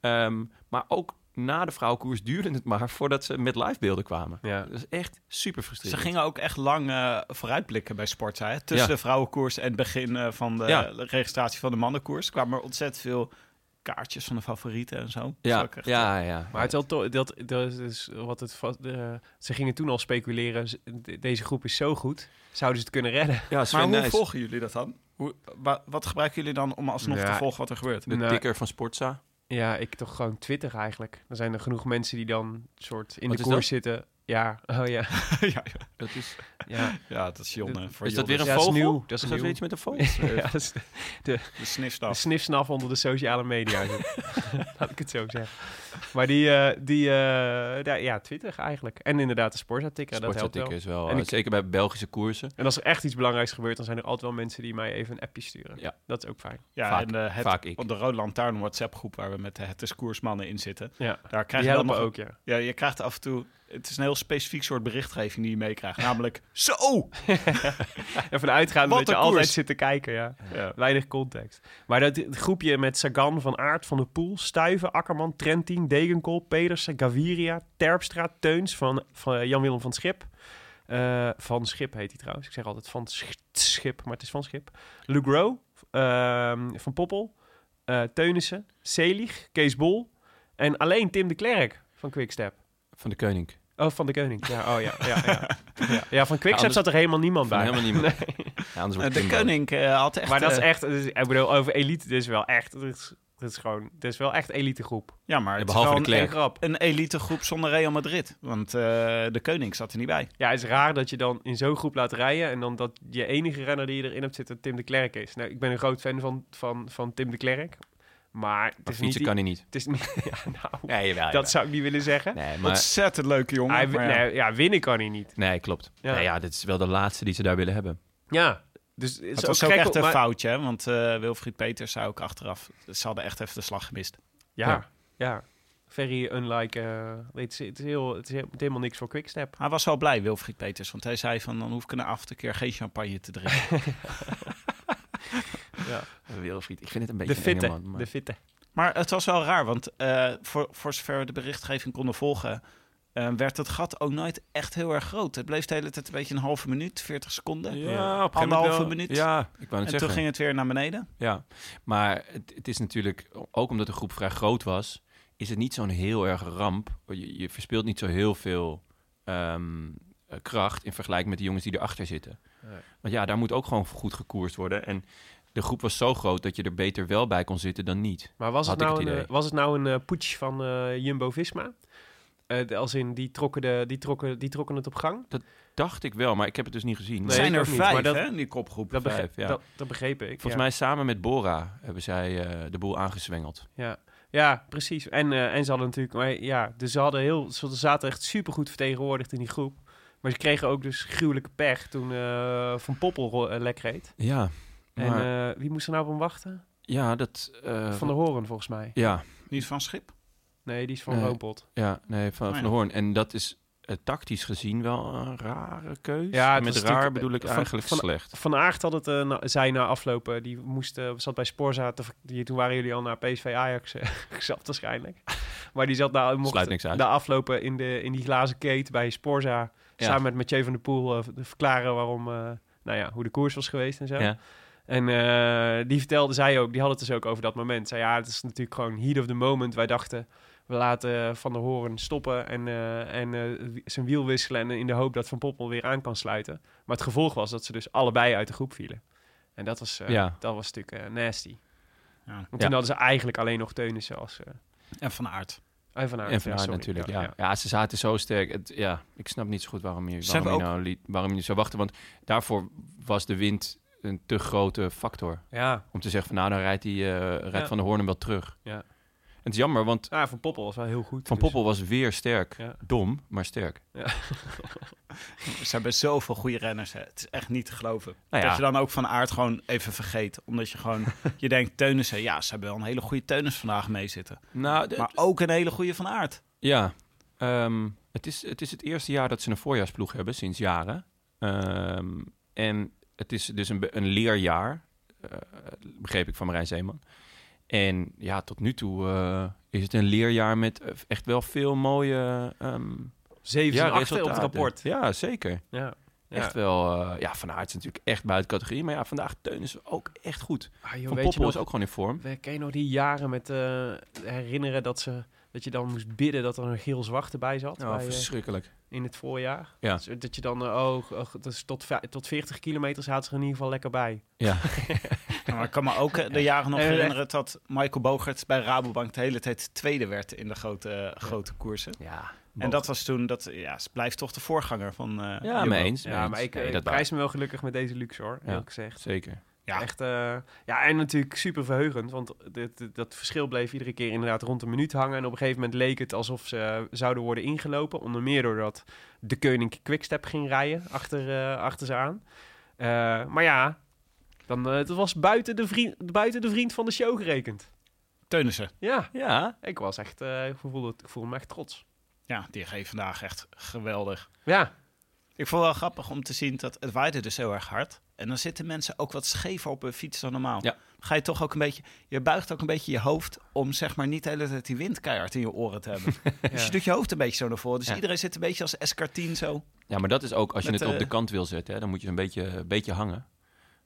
Ehm, maar ook na de vrouwenkoers duurde het maar... voordat ze met live beelden kwamen.
Ja.
Dat is echt super
Ze
frustrerend.
gingen ook echt lang eh, vooruitblikken bij Sportza. hè. Tussen
Ja.
de vrouwenkoers en het begin eh, van de
Ja.
registratie van de mannenkoers kwamen er ontzettend veel kaartjes van de favorieten en zo. Dat is
Ja,
ook echt, eh,
ja, ja.
Maar het is wel tof, dat, dat is wat het va- eh, ze gingen toen al speculeren, ze- de- deze groep is zo goed, zouden ze het kunnen redden?
ja,
Maar
Sven
hoe
Nys,
volgen jullie dat dan? Hoe, wa- wat gebruiken jullie dan om alsnog te
Nou,
volgen wat er gebeurt?
de
Nee.
tikker van Sportza...
Ja, ik toch gewoon Twitter eigenlijk. Dan zijn er genoeg mensen die dan soort in
Wat
de
is dat?
koers zitten. Ja, oh ja.
ja,
Dat is,
ja.
dat is Jon. eh, voor
is dat
Jon
weer een
Ja, dat is
vogel?
nieuw. Dat is
dat
nieuw.
weer iets met een vogel?
Ja, dat is de
de snifstaf.
snifsnaf onder de sociale media. Laat ik het zo zeggen. Maar die, eh, die eh, daar- ja, Twitter eigenlijk. En inderdaad de Sporza-tikker, dat helpt
Sportatikken
wel.
is wel,
En
eh,
ik-
zeker bij Belgische koersen.
En als er echt iets belangrijks gebeurt, dan zijn er altijd wel mensen die mij even een appje sturen.
Ja.
Dat is ook fijn.
Ja,
Vaak-
en eh, het,
vaak ik.
op de Rode Lantaarn WhatsApp groep waar we met de Het is Koersmannen in zitten.
Ja.
Daar krijg
Die
je dan
helpen
nog,
ook, ja.
Ja, je krijgt af en toe... Het is een heel specifiek soort berichtgeving die je meekrijgt. Namelijk, zo!
En vanuitgaande
Wat
dat je
een
altijd
koers.
zit te kijken, ja.
Ja.
Weinig context. Maar dat groepje met Sagan, Van Aert, Van der Poel, Stuiven, Akkerman, Trentin, Degenkolb, Pedersen, Gaviria, Terpstra, Teuns, van, van Jan-Willem van Schip. Eh, van Schip heet hij trouwens. Ik zeg altijd van Sch- Schip, maar het is van Schip. Luc Rowe, ehm, Van Poppel, eh, Teunissen, Selig, Kees Bol en alleen Tim de Klerk van Quickstep.
Van de Koning.
Oh, van de Koning. Ja, oh ja. Ja, ja. ja. ja van Quickstep
anders-
zat er helemaal niemand
Van
bij.
helemaal niemand. Ja, anders wordt
de
Timbo.
koning eh, had echt...
maar dat is
eh,
echt, dus, ik bedoel, over elite, dit is wel echt, dit is, dit is gewoon, dit is wel echt elite groep.
Ja, maar het is
behalve
wel
de
een,
Klerk.
Geen grap.
een elite groep zonder Real Madrid. Want eh, de koning zat er niet bij.
Ja, het is raar dat je dan in zo'n groep laat rijden en dan dat je enige renner die je erin hebt zitten Tim de Klerk is. Nou, ik ben een groot fan van, van, van Tim de Klerk, maar
Maar
het is niet...
fietsen
die-
kan hij niet.
Het is niet, ja, nou,
Nee, jawel,
dat zou ik niet willen zeggen.
jawel. Nee, maar...
Ontzettend leuke jongen.
Hij,
maar
wi-
ja.
nee, ja, winnen kan hij niet.
Nee, klopt.
Ja.
Ja. Nee, ja, dit is wel de laatste die ze daar willen hebben.
Ja, dus het is
Het was ook
gek,
echt een
maar-
foutje, hè? want eh, Wilfried Peters zei ook achteraf, ze hadden echt even de slag gemist.
Ja, ja.
Ja.
Very unlike, eh, het, is, het, is heel, het is heel- helemaal niks voor Quickstep.
Hij was wel blij, Wilfried Peters, want hij zei van, dan hoef ik een avond een keer geen champagne te drinken.
Wilfried, ik vind het een
De
beetje
fitte, de fitte.
maar het was wel raar, want eh, voor, voor zover we de berichtgeving konden volgen, eh, werd het gat ook nooit echt heel erg groot. Het bleef de hele tijd een beetje een halve minuut, 40 seconden.
Ja, op een gegeven moment
Anderhalve
wel.
minuut.
Ja, ik wou
en
het
toen
zeggen.
ging het weer naar beneden.
Ja, maar het, het is natuurlijk, ook omdat de groep vrij groot was, is het niet zo'n heel erg ramp. Je, je verspeelt niet zo heel veel ehm, eh, kracht in vergelijking met de jongens die erachter zitten. Want ja, daar moet ook gewoon goed gekoerst worden. En de groep was zo groot dat je er beter wel bij kon zitten dan niet.
Maar was, het
Had ik
nou,
het
een,
idee.
eh, was het nou een eh, putsch van eh, Jumbo-Visma? Eh, de- als in, die trokken, de, die, trokken, die trokken het op gang?
Dacht ik wel, maar ik heb het dus niet gezien.
Nee,
zijn
ik
er
ook niet,
vijf,
maar dat-
hè, in die kopgroep.
Dat, begreep,
Vijf, ja.
dat, dat begreep ik.
Volgens
ja.
mij samen met Bora hebben zij eh, de boel aangezwengeld.
Ja, ja precies. En, eh, en ze hadden natuurlijk... Maar, ja, dus ze, hadden heel, ze zaten echt supergoed vertegenwoordigd in die groep. Maar ze kregen ook dus gruwelijke pech toen eh, Van Poppel ro- eh, lek reed.
Ja,
En
maar,
eh, wie moest er nou op hem wachten?
ja, dat... eh,
Van der Horen, volgens mij.
Ja,
Niet van schip.
Nee, die is van
Nee.
Robot.
Ja, nee, van,
Oh,
van
ja.
de Hoorn. En dat is eh, tactisch gezien wel een rare keus.
Ja, het
met
was
raar
natuurlijk,
bedoel ik
eh, van-
eigenlijk
van-
slecht.
Van Aert had het, eh, na- zei na aflopen, die moest, eh, zat bij Sporza, te, die, toen waren jullie al naar PSV Ajax eh, gezapt waarschijnlijk. Maar die zat nou,
Sluit
mocht
niks uit.
na aflopen in, de, in die glazen kate bij Sporza,
Ja.
samen met Mathieu van der Poel, eh, v- verklaren waarom, eh, nou ja, hoe de koers was geweest en zo.
Ja.
En eh, die vertelde zij ook, die had het dus ook over dat moment. Zei ja, het is natuurlijk gewoon heat of the moment. Wij dachten, we laten Van der Hoorn stoppen en, eh, en eh, wi- zijn wiel wisselen. En in de hoop dat Van Poppel weer aan kan sluiten. Maar het gevolg was dat ze dus allebei uit de groep vielen. En dat was, eh,
Ja.
dat was natuurlijk eh, nasty.
Ja.
Want toen
Ja.
hadden ze eigenlijk alleen nog Teunissen als... eh
En van aard.
en van Aert,
En van
ja,
haar
sorry.
natuurlijk, ja, ja. ze zaten zo sterk. Het, ja, ik snap niet zo goed waarom je,
Ze hebben
waarom je,
ook-
nou liet, waarom je zou wachten. Want daarvoor was de wind een te grote factor.
Ja.
Om te zeggen van nou, dan rijdt, die, eh, rijdt
Ja.
Van der Hoorn hem wel terug.
Ja.
En het is jammer, want
Ah, Van Poppel was wel heel goed.
Van
dus.
Poppel was weer sterk.
Ja.
Dom, maar sterk.
Ze hebben zoveel goede renners. Hè. Het is echt niet te geloven.
Nou ja.
Dat je dan ook van aard gewoon even vergeet. Omdat je gewoon, je denkt, Teunissen, ja, ze hebben wel een hele goede Teunis vandaag mee zitten.
Nou, de-
Maar ook een hele goede van aard.
Ja, ehm, het, is, het is het eerste jaar dat ze een voorjaarsploeg hebben sinds jaren. Ehm, en het is dus een, be- een leerjaar, eh, begreep ik van Marijn Zeeman. En ja, tot nu toe eh, is het een leerjaar met eh, echt wel veel mooie ehm
Zeven
ja,
en acht, hè, op het
resultaten.
rapport.
Ja, zeker.
Ja.
Echt wel, eh, ja, Van Aert is natuurlijk echt buiten categorie. Maar ja, vandaag Teun is ook echt goed.
Ah, joh,
Van
weet je
Poppel
nog-
is ook gewoon in vorm.
We- Ken je nog die jaren met eh, herinneren dat, ze, dat je dan moest bidden dat er een geel zwart erbij zat
Oh,
bij, eh,
verschrikkelijk.
in het voorjaar?
Ja.
Dus, eh, dat je dan, eh, oh, oh, dus tot, vij- tot 40 kilometer zaten ze er in ieder geval lekker bij.
Ja,
Ja, maar ik kan me ook eh, de jaren nog
En echt-
herinneren dat Michael Bogert bij Rabobank de hele tijd tweede werd in de grote, eh, grote koersen.
ja.
En dat was toen, dat ja, ze blijft toch de voorganger van... eh,
ja
Jumbo.
mee eens. mee
Ja,
eens.
maar ik
Nee,
eh,
dat waar.
prijs me wel gelukkig met deze luxe hoor,
Ja.
eerlijk gezegd.
Zeker.
Ja. Echt, eh, ja, en natuurlijk super verheugend, want dit, dit- dat verschil bleef iedere keer inderdaad rond een minuut hangen. En op een gegeven moment leek het alsof ze eh, zouden worden ingelopen. Onder meer doordat de koning Quickstep ging rijden achter, eh, achter ze aan. Eh, maar ja, dan, eh, het was buiten de, vriend, buiten de vriend van de show gerekend.
Teunissen.
Ja,
Ja.
ik was echt, eh, ik, voelde, ik voelde me echt trots.
Ja, die geeft vandaag echt geweldig.
Ja,
Ik vond het wel grappig om te zien dat het waaide dus heel erg hard. En dan zitten mensen ook wat schever op hun fiets dan normaal.
Ja.
Ga je toch ook een beetje, je buigt ook een beetje je hoofd om zeg maar niet de hele tijd die wind keihard in je oren te hebben. Dus je doet je hoofd een beetje zo naar voren. Dus
Ja.
iedereen zit een beetje als SK10 zo.
Ja, maar dat is ook als je
Met,
het op
eh,
de kant wil zetten, hè, dan moet je een beetje, een beetje hangen.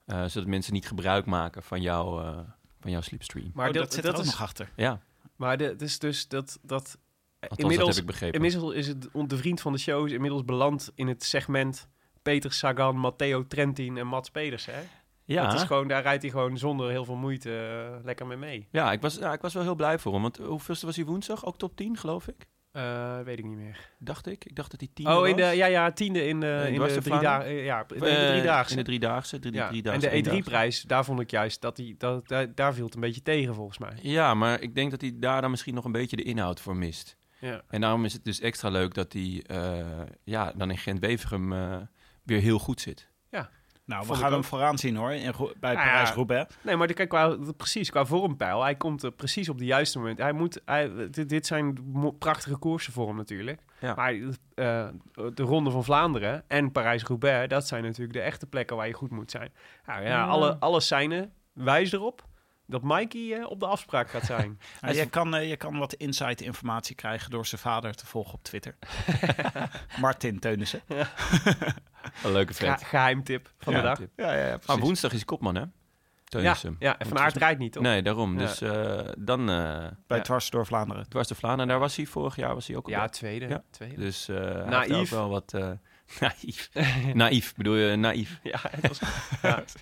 Eh, zodat mensen niet gebruik maken van, jouw eh, van jouw slipstream.
maar
Oh,
dat,
dat zit
dat
er ook
is,
nog achter.
Ja,
maar de- het is dus dat, dat
althans dat
inmiddels,
heb ik begrepen.
inmiddels is het on- de vriend van de show is inmiddels beland in het segment Peter Sagan, Matteo Trentin en Mats Pedersen. Hè?
ja.
Dat is gewoon, daar rijdt hij gewoon zonder heel veel moeite eh, lekker mee mee.
Ja, ik was, ja, ik was wel heel blij voor hem. Want hoeveelste was hij woensdag? Ook top 10, geloof ik.
Eh, weet ik niet meer.
Dacht ik. Ik dacht dat hij 10
Oh,
was.
in de, ja, ja, tiende in de, in
dwars
de
de
drie
Vlaanderen?
dagen. ja, in
Of,
de
eh,
driedaagse.
In de driedaagse. Drie,
Ja,
drie,
en de E
driedaagse.
E3-prijs, daar vond ik juist dat hij, dat, daar, daar viel het een beetje tegen volgens mij.
Ja, maar ik denk dat hij daar dan misschien nog een beetje de inhoud voor mist.
Ja.
En daarom is het dus extra leuk dat hij eh, ja, dan in Gent-Wevergem eh, weer heel goed zit.
Nou, we
Vond ik
gaan hem
ook.
vooraan zien hoor, in, Ro- bij
Ah, ja.
Parijs-Roubaix.
Nee, maar de- kijk, qua, de- precies, qua vormpeil, hij komt er precies op de juiste moment. Hij moet, hij, dit, dit zijn mo- prachtige koersen voor hem natuurlijk.
Ja.
Maar eh, de Ronde van Vlaanderen en Parijs-Roubaix, dat zijn natuurlijk de echte plekken waar je goed moet zijn. Nou ja, Alle, alle seinen wijzen erop dat Mikey eh, op de afspraak gaat zijn.
Nou, je, kan, eh, je kan wat insight informatie krijgen door zijn vader te volgen op Twitter. Martin Teunissen.
Een leuke
Ge- geheimtip van de dag.
tip.
Ja, ja,
Ah, woensdag is hij kopman, hè?
Ja,
Teunissen.
ja, en Van Aert rijdt niet, toch?
Nee, daarom.
Ja.
Dus eh, dan eh
Bij
ja,
Dwars door Vlaanderen.
dwars de Vlaanderen. Daar was hij vorig jaar was hij ook op.
Ja,
hè?
tweede.
Ja.
tweede.
Dus eh hij heeft
Naïef.
daar ook wel wat... eh, naïef. naïef, bedoel je eh, naïef?
Ja, het was,
Nou, Yves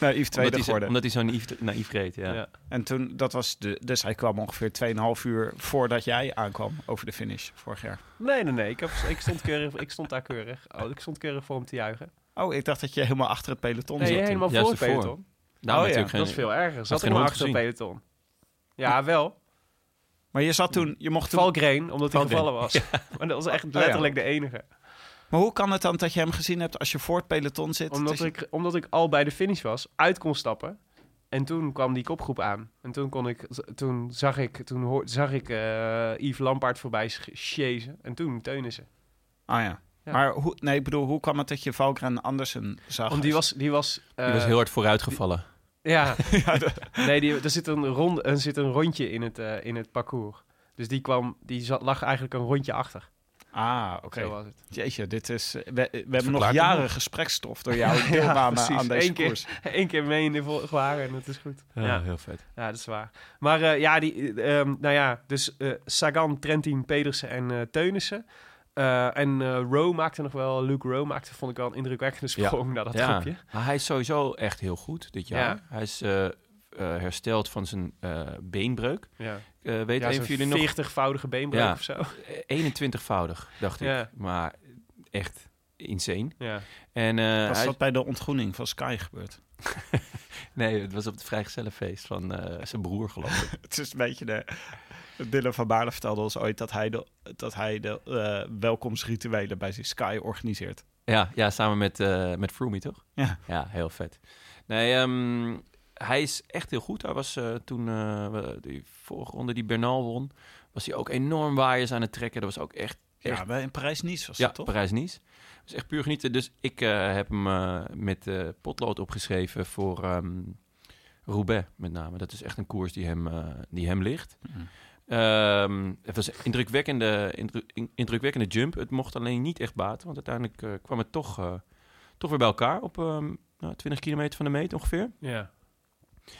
Omdat hij,
tweede
zo-
geworden.
omdat hij zo naïef, naïef reed, ja.
ja.
En toen, dat was de, dus hij kwam ongeveer 2,5 uur voordat jij aankwam over de finish vorig jaar.
Nee, nee, nee. Ik, heb, ik, stond keurig, ik stond daar keurig. Oh, ik stond keurig voor hem te juichen.
Oh, ik dacht dat je helemaal achter het peloton
Nee,
zat. toen.
helemaal
Juist
voor het
ervoor.
peloton.
Daarom
Oh ja,
natuurlijk
Dat is
geen-
veel erger. Zat
geen
helemaal
hond
achter het peloton. Ja, wel.
Maar je zat toen, je mocht toen...
Valkrein, omdat hij
Valkrein.
gevallen was. Maar dat was echt
ja.
letterlijk de enige.
Maar hoe kan het dan dat je hem gezien hebt als je voor het peloton zit?
Omdat
Dus je-
ik, omdat ik al bij de finish was, uit kon stappen. En toen kwam die kopgroep aan. En toen, kon ik, toen zag ik, toen hoor, zag ik eh, Yves Lampaard voorbij sch- chasen. En toen teunen ze.
Ah ja.
Ja.
Maar hoe, nee, ik bedoel, hoe kwam het dat je Valkren Andersen zag?
Want die was... Die was,
Die was
eh,
heel hard vooruitgevallen.
Ja. nee, die, er, zit een rond, er zit een rondje in het, eh, in het parcours. Dus die, kwam, die zat, lag eigenlijk een rondje achter.
Ah, oké.
Zo eh. was het.
Jeetje, dit is... eh, We, we hebben nog
verklaart
jaren
hem
gespreksstof door jouw deelname
precies.
aan deze
Eén keer.
koers.
Eén keer mee in de vo- wagen en dat is goed. Ja.
heel vet.
Ja, dat is waar. Maar eh, ja, die, eh, ehm, nou ja, dus eh, Sagan, Trentin, Pedersen en eh, Teunissen. Eh, en eh Rowe maakte nog wel, Luke Rowe maakte, vond ik wel een indrukwekkende
Ja.
sprong naar dat
Ja,
groepje.
maar hij is sowieso echt heel goed dit jaar.
Ja.
Hij is eh, eh, hersteld van zijn eh, beenbreuk.
Ja,
Eh, weet
ja
een van jullie
zo'n
nog?
40-voudige beenbreuk
Ja.
of zo.
Eh, 21-voudig, dacht
Ja.
ik. Maar echt insane.
Ja.
En, eh,
Was
hij,
dat bij de ontgroening van Sky gebeurd?
Nee, het was op het vrijgezellenfeest van eh, zijn broer, geloof ik.
Het is een beetje de... Dylan van Baarle vertelde ons ooit dat hij de, dat hij de eh, welkomstrituelen bij zijn Sky organiseert.
ja, ja, samen met, eh met Froomey, toch?
Ja.
Ja, heel vet. Nee, ehm, hij is echt heel goed. Hij was eh, toen eh, we- die vorige ronde die Bernal won, was hij ook enorm waaiers aan het trekken. Dat was ook echt
Ja, bij in Parijs-Nice was
ja,
dat toch?
Parijs-Nice. Dus echt puur genieten. Dus ik eh, heb hem eh, met eh, potlood opgeschreven voor ehm Roubaix met name. Dat is echt een koers die hem, eh, die hem ligt.
Mhm.
Ehm, het was een indrukwekkende, indru- in- indrukwekkende jump. Het mocht alleen niet echt baten, want uiteindelijk eh, kwam het toch, eh, toch weer bij elkaar op ehm, nou, 20 kilometer van de meet ongeveer.
Ja.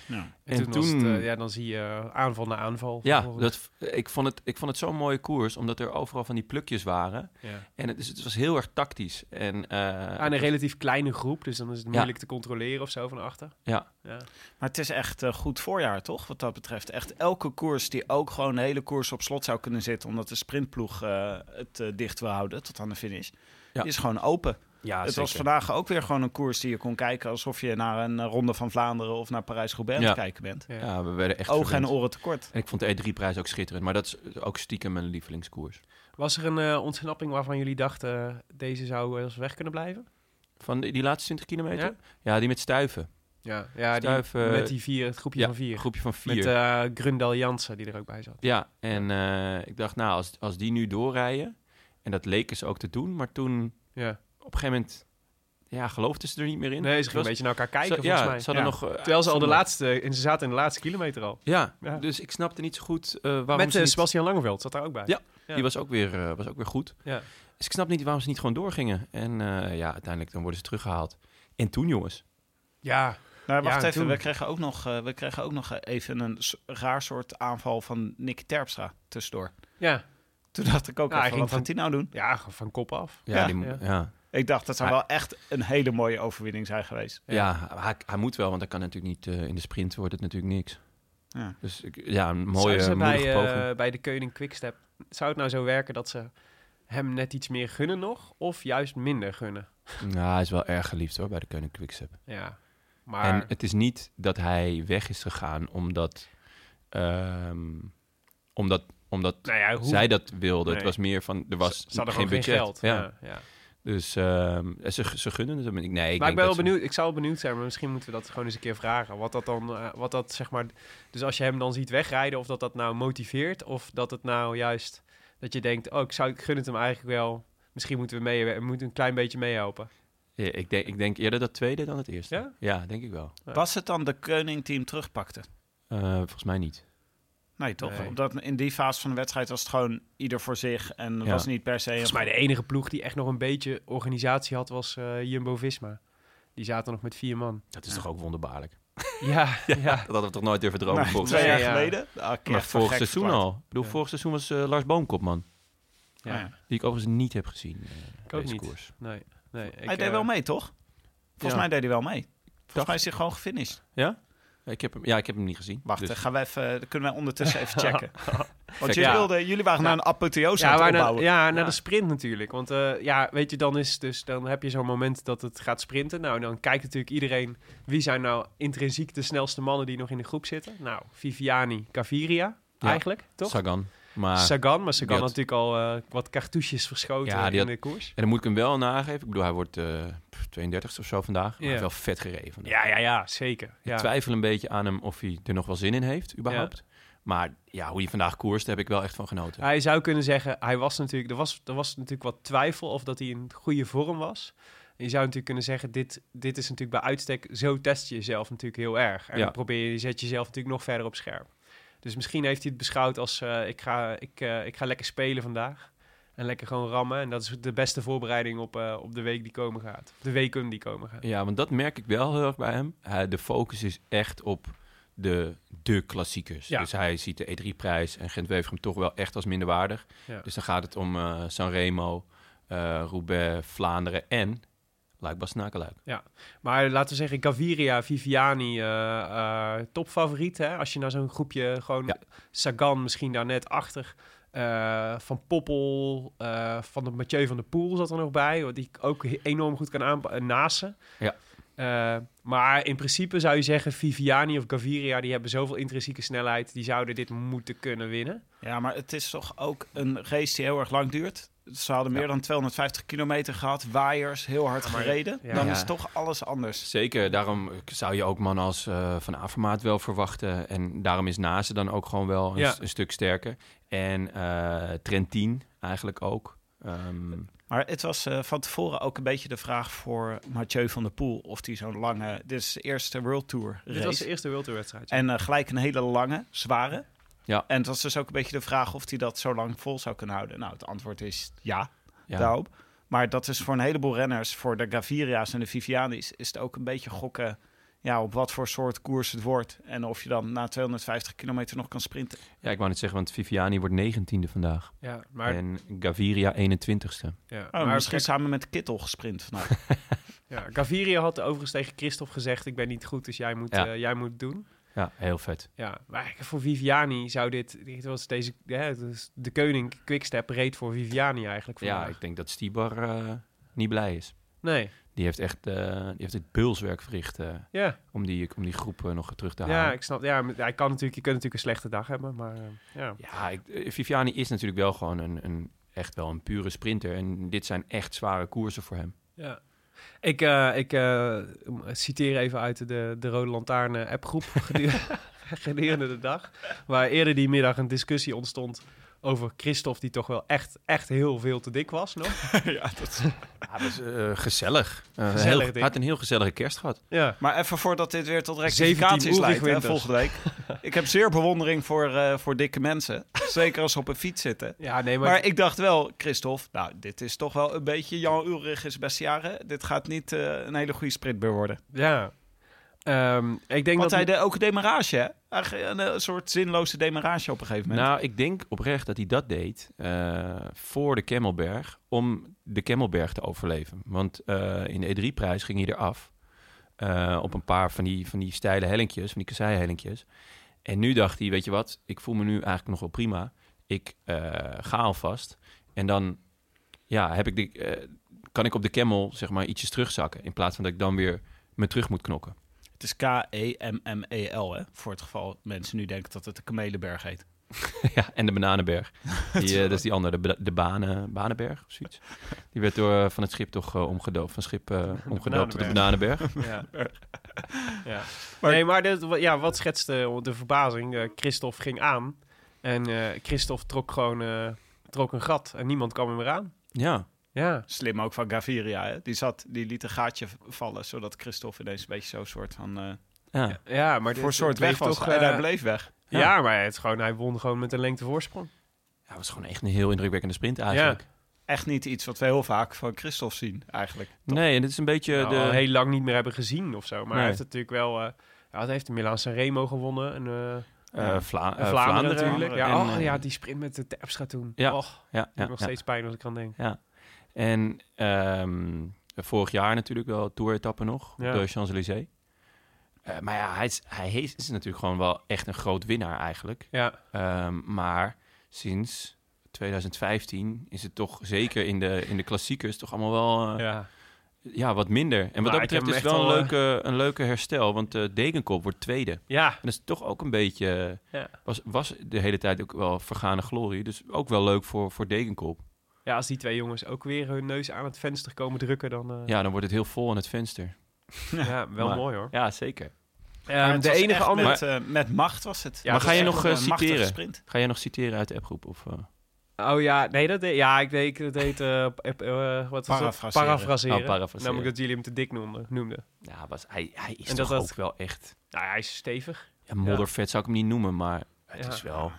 Ja.
En,
En
toen, was het,
toen-
eh, ja, dan zie je eh, aanval na aanval.
Ja,
Vervolgens-
dat, ik vond het, ik vond het zo'n mooie koers, omdat er overal van die plukjes waren.
ja.
En het, dus het was heel erg tactisch. En, eh,
Ah,
Aan een relatief kleine groep, dus dan is het moeilijk te controleren of zo van achter.
Ja.
ja.
Maar het is echt eh, goed voorjaar, toch? Wat dat betreft. Echt elke koers die ook gewoon de hele koers op slot zou kunnen zitten. omdat de sprintploeg eh, het eh, dicht wil houden tot aan de finish.
Ja.
die is gewoon open.
Ja,
het was vandaag ook weer gewoon een koers die je kon kijken alsof je naar een eh, ronde van Vlaanderen of naar Parijs-Roubaix aan
Ja.
het kijken bent.
Ja, we werden echt
Ogen en
verwend.
oren tekort.
En ik vond de E3-prijs ook schitterend, maar dat is ook stiekem mijn lievelingskoers.
Was er een eh, ontsnapping waarvan jullie dachten, eh, deze zou wel eens weg kunnen blijven?
Van die, die laatste 20 kilometer?
Ja?
Ja, die met stuiven.
Ja, ja die,
Stuif, eh,
met die vier, het groepje
ja,
van vier.
groepje van vier.
Met eh Grundal Jansen, die er ook bij zat.
Ja, en eh, ik dacht, nou, als, als die nu doorrijden, en dat leken ze ook te doen, maar toen
Ja.
op een gegeven moment, ja, geloofden ze er niet meer in.
Nee, ze
Het was-
gingen een beetje naar elkaar kijken,
ze-
volgens
ja,
mij.
Ze hadden
Ja.
nog, eh,
Terwijl ze al de
zondag-
laatste, en ze zaten in de laatste kilometer al.
Ja,
Ja.
dus ik snapte niet zo goed eh, waarom
Met
ze
eh,
niet-
Sebastian Langeveld zat daar ook bij.
Ja.
ja.
Die was ook, weer, eh, was ook weer goed.
Ja.
Dus ik snap niet waarom ze niet gewoon doorgingen. En eh, ja, uiteindelijk dan worden ze teruggehaald. En toen, jongens.
Ja,
Nou, wacht
en
even,
toen-
we kregen, ook nog, eh, we kregen ook nog eh, even een s- raar soort aanval van Nick Terpstra tussendoor.
ja.
Toen dacht ik ook,
Ja, hij
even, wat
ging van-
gaat die nou doen?
ja van kop af.
Ja,
Ja.
die, mo-
Ja.
ja. Ja.
Ik dacht, dat zou
Hij-
wel echt een hele mooie overwinning zijn geweest.
hij, hij moet wel, want hij kan natuurlijk niet eh, in de sprint wordt het natuurlijk niks.
Ja.
Dus ik- ja, een
Zou
mooie,
ze bij,
moedige
eh,
poging.
bij de Keuning Quickstep, zou het nou zo werken dat ze hem net iets meer gunnen nog? Of juist minder gunnen?
Nou, hij is wel erg geliefd hoor, bij de Koning Quickstep.
Ja, maar...
En het is niet dat hij weg is gegaan omdat, ehm, omdat, omdat
nou ja, hoe...
zij dat wilde. Het
Nee.
was meer van, er was
ze hadden
geen
gewoon
budget.
geld.
Ja.
Ja, ja.
Dus ehm, ze, ze gunnen het hem. Ik- Nee, ik
maar
denk
ik ben wel
dat ze-
benieuwd, ik zou wel benieuwd zijn, maar misschien moeten we dat gewoon eens een keer vragen. Wat dat dan, eh, wat dat zeg maar, dus als je hem dan ziet wegrijden, of dat dat nou motiveert, of dat het nou juist, dat je denkt, oh, ik, zou, ik gun het hem eigenlijk wel. Misschien moeten we mee, we moeten een klein beetje meehelpen.
Ja, ik, denk, ik denk eerder dat tweede dan het eerste.
Ja?
denk ik wel.
Ja.
Was het dan de Keuning die hem terugpakte?
Eh, volgens mij niet.
Nee, toch?
Nee.
Omdat in die fase van de wedstrijd was het gewoon ieder voor zich. En
Ja.
was niet per se...
Volgens mij de enige ploeg die echt nog een beetje organisatie had, was eh, Jumbo-Visma. Die zaten nog met vier man.
Dat is toch ook wonderbaarlijk.
Ja, ja.
Dat hadden we toch nooit durven dromen
Nou,
volgens
twee
mij.
jaar
Ja.
geleden. Ah, ik
Maar
echt voor
vorig
gek
seizoen
verklaard.
al. Ik bedoel,
Ja.
vorig seizoen was eh, Lars Boomkopman.
Ja.
Ja.
Die ik overigens niet heb gezien. eh,
ook
deze
niet.
koers.
Nee, nee. Ik,
Hij deed
eh,
wel mee, toch? Volgens
ja.
mij deed hij wel mee. Volgens
dacht-
mij is hij gewoon gefinished.
Ik heb hem, ja, ik heb hem niet gezien.
Wacht,
Dus-
eh, gaan we even, dat kunnen wij ondertussen even checken. Want
Ja.
jullie, wilden, jullie waren naar een apotheose aan
Ja,
het
maar na,
opbouwen.
ja, naar de sprint natuurlijk. Want eh, ja, weet je, dan, is dus, dan heb je zo'n moment dat het gaat sprinten. Nou, dan kijkt natuurlijk iedereen wie zijn nou intrinsiek de snelste mannen die nog in de groep zitten. Nou, Viviani, Gaviria
Ja.
eigenlijk, toch?
Sagan. Maar,
Sagan, maar Sagan
Die had-
had natuurlijk al eh, wat cartouches verschoten
Ja, die
in
had-
de koers.
en dan moet ik hem wel nageven. Ik bedoel, hij wordt eh 32 of zo vandaag. Maar hij
Ja.
heeft wel vet gereden. vandaag.
Ja, ja, ja, zeker.
Ik
Ja.
twijfel een beetje aan hem of hij er nog wel zin in heeft, überhaupt. Maar ja, hoe hij vandaag koerst, daar heb ik wel echt van genoten.
Hij zou kunnen zeggen, hij was natuurlijk, er, was, er was natuurlijk wat twijfel of dat hij in goede vorm was. En je zou natuurlijk kunnen zeggen, dit, dit is natuurlijk bij uitstek, zo test je jezelf natuurlijk heel erg. En
Ja.
dan probeer je, je zet jezelf natuurlijk nog verder op scherp. Dus misschien heeft hij het beschouwd als, eh, ik, ga, ik, eh, ik ga lekker spelen vandaag. En lekker gewoon rammen. En dat is de beste voorbereiding op, eh, op de week die komen gaat. Op de weken die komen gaat.
Ja, want dat merk ik wel heel erg bij hem. Hij, de focus is echt op de, de klassiekers.
Ja.
Dus hij ziet de E3-prijs en gent hem toch wel echt als minderwaardig.
Ja.
Dus dan gaat het om eh Sanremo, eh Roubaix, Vlaanderen en Luikbas Nakeluik.
Maar laten we zeggen, Gaviria, Viviani, eh, eh, topfavoriet. Hè? Als je naar zo'n groepje, gewoon
Ja.
Sagan misschien daar net achter. eh, van Poppel, eh, van de Mathieu van der Poel zat er nog bij. wat Die ik ook he- enorm goed kan aanpakken. Naasten.
Ja.
Eh, maar in principe zou je zeggen, Viviani of Gaviria... die hebben zoveel intrinsieke snelheid... die zouden dit moeten kunnen winnen.
Ja, maar het is toch ook een race die heel erg lang duurt. Dus Ze hadden meer dan 250 kilometer gehad, waaiers, heel hard gereden.
ja.
Dan
Ja.
is toch alles anders.
Zeker, daarom zou je ook mannen als eh, Van Avermaat wel verwachten. En daarom is Nase dan ook gewoon wel een,
Ja.
s- een stuk sterker. En eh Trentin eigenlijk ook. Ehm,
Maar het was eh, van tevoren ook een beetje de vraag voor Mathieu van der Poel... of hij zo'n lange... Dit is de eerste World Tour race.
Dit was de eerste World Tour wedstrijd.
En eh, gelijk een hele lange, zware.
Ja.
En het was dus ook een beetje de vraag of hij dat zo lang vol zou kunnen houden. Nou, het antwoord is ja,
ja.
daarop. Maar dat is voor een heleboel renners, voor de Gaviria's en de Viviani's, is het ook een beetje gokken ja, op wat voor soort koers het wordt. En of je dan na 250 kilometer nog kan sprinten.
Oh,
ja, ik wou net zeggen, want Viviani wordt 19e vandaag.
ja, maar,
En Gaviria 21ste.
ja,
Oh,
maar
misschien
kijk-
samen met Kittel gesprint vandaag.
Ja, Gaviria had overigens tegen Christophe gezegd... ik ben niet goed, dus jij moet,
Ja.
eh, jij moet het doen.
Ja, heel vet.
Ja, maar eigenlijk voor Viviani zou dit... dit was deze, ja, het is de koning Quickstep reed voor Viviani eigenlijk.
Ja,
vandaag.
ik denk dat Stibar eh, niet blij is.
Nee.
Die heeft echt eh, die heeft het beulswerk verricht eh,
Ja,
om, die, om die groep eh, nog terug te halen.
ja ik snap. Ja, maar hij kan natuurlijk, je kunt natuurlijk een slechte dag hebben, maar eh, ja.
Ja, ik, eh, Viviani is natuurlijk wel gewoon een, een, echt wel een pure sprinter. En dit zijn echt zware koersen voor hem.
Ja. Ik, eh, ik eh, citeer even uit de, de Rode Lantaarn eh, appgroep gedurende, gedurende de dag. Waar eerder die middag een discussie ontstond over Christophe, die toch wel echt, echt heel veel te dik was nog.
Ja, dat is gezellig.
Gezellig
Eh, heel,
ding.
had een heel gezellige kerst gehad.
Ja,
Maar even voordat dit weer tot
17
rectificaties
Ulrich
leidt, hè,
Winters.
volgende week. ik heb zeer bewondering voor, eh, voor dikke mensen. Zeker als ze op een fiets zitten.
ja nee, maar,
Maar ik dacht wel, Christophe, nou, dit is toch wel een beetje Jan Ulrich's beste jaren. Dit gaat niet eh, een hele goede sprint meer worden.
ja. Ehm, ik denk
Want
dat
hij deed ook een demarage, hè? Hij ge- Een, eh, soort zinloze demarage op een gegeven moment.
Nou, ik denk oprecht dat hij dat deed eh, voor de Kemmelberg. Om de Kemmelberg te overleven. Want eh, in de E3-prijs ging hij eraf. eh, op een paar van die, van die steile hellinkjes, van die kasseihellingjes. En nu dacht hij, weet je wat, ik voel me nu eigenlijk nog wel prima. Ik eh, ga alvast. En dan ja, heb ik de, eh, kan ik op de Kemmel zeg maar ietsjes terugzakken. In plaats van dat ik dan weer me terug moet knokken.
Het is K-E-M-M-E-L, hè? Voor het geval mensen nu denken dat het de Kamelenberg heet.
Ja, en de Bananenberg. Die, eh, dat is die andere, de, ba- de banen, Banenberg of zoiets. Die werd door, eh, van het schip toch eh, omgedoofd. Van schip eh, omgedoopt tot de Bananenberg.
Ja. ja. nee, maar dit, wa- ja, wat schetste de verbazing? Eh, Christophe ging aan en eh Christophe trok gewoon eh, trok een gat en niemand kwam hem meer aan.
Ja,
Ja,
Slim ook van Gaviria, hè? Die, zat, die liet een gaatje v- vallen, zodat Christophe ineens een beetje zo'n soort van... eh,
ja.
ja maar dit,
voor een soort
het bleef
weg was.
toch,
en
eh,
hij bleef weg.
Ja, maar het is gewoon, hij won gewoon met een lengte voorsprong.
Ja, was gewoon echt een heel indrukwekkende sprint eigenlijk.
Echt niet iets wat we heel vaak van Christophe zien, eigenlijk.
nee, en dit is een beetje
Nou,
de...
al heel lang niet meer hebben gezien of zo. Maar hij
Nee.
heeft natuurlijk wel... eh ja, hij heeft de Milaan Sanremo gewonnen. En, eh,
eh,
Ja.
Vla- eh,
en Vlaanderen, natuurlijk. Ja,
En,
oh,
eh,
ja, die sprint met de Terpstra toen.
Ja,
Och,
ja,
doet
ja,
nog
ja.
steeds pijn als ik aan denk.
En ehm, vorig jaar natuurlijk wel tour-etappe nog,
Ja.
op de Champs-Élysées. Eh, maar ja, hij is, hij is, is natuurlijk gewoon wel echt een groot winnaar eigenlijk.
Ja,
Ehm, maar sinds 2015 is het toch zeker in de, in de klassiekers toch allemaal wel eh,
ja.
ja. wat minder. En wat
Nou,
dat
ik heb
betreft is het
hem
wel een
echt al,
leuke, een leuke herstel, want eh, Dekenkop wordt tweede. En
ja.
dat is toch ook een beetje,
Ja.
was, was de hele tijd ook wel vergane glorie. Dus ook wel leuk voor, voor Dekenkop.
Ja, als die twee jongens ook weer hun neus aan het venster komen drukken, dan... eh,
Ja, dan wordt het heel vol aan het venster.
ja. wel
Maar-
mooi hoor.
Ja, zeker.
Ehm,
Maar het
de
was
enige
echt
andere...
Met, eh, met macht was het.
Ja,
maar
Het
ga
was
je
echt
nog
een
eh,
machtige
citeren?
sprint.
Ga je nog citeren uit de appgroep? Of, eh?
Oh ja, nee, dat deed... Ja, ik deed... Dat deed eh, eh, eh, wat was dat?
Parafraseren.
Parafraseren.
Oh, parafraseren.
Namelijk dat jullie hem te dik noemden. noemden.
Ja, was, hij, hij is
En dat
toch
dat-
ook wel echt...
Nou ja, hij is stevig.
Ja, moddervet zou ik hem niet noemen, maar het
Ja.
is wel...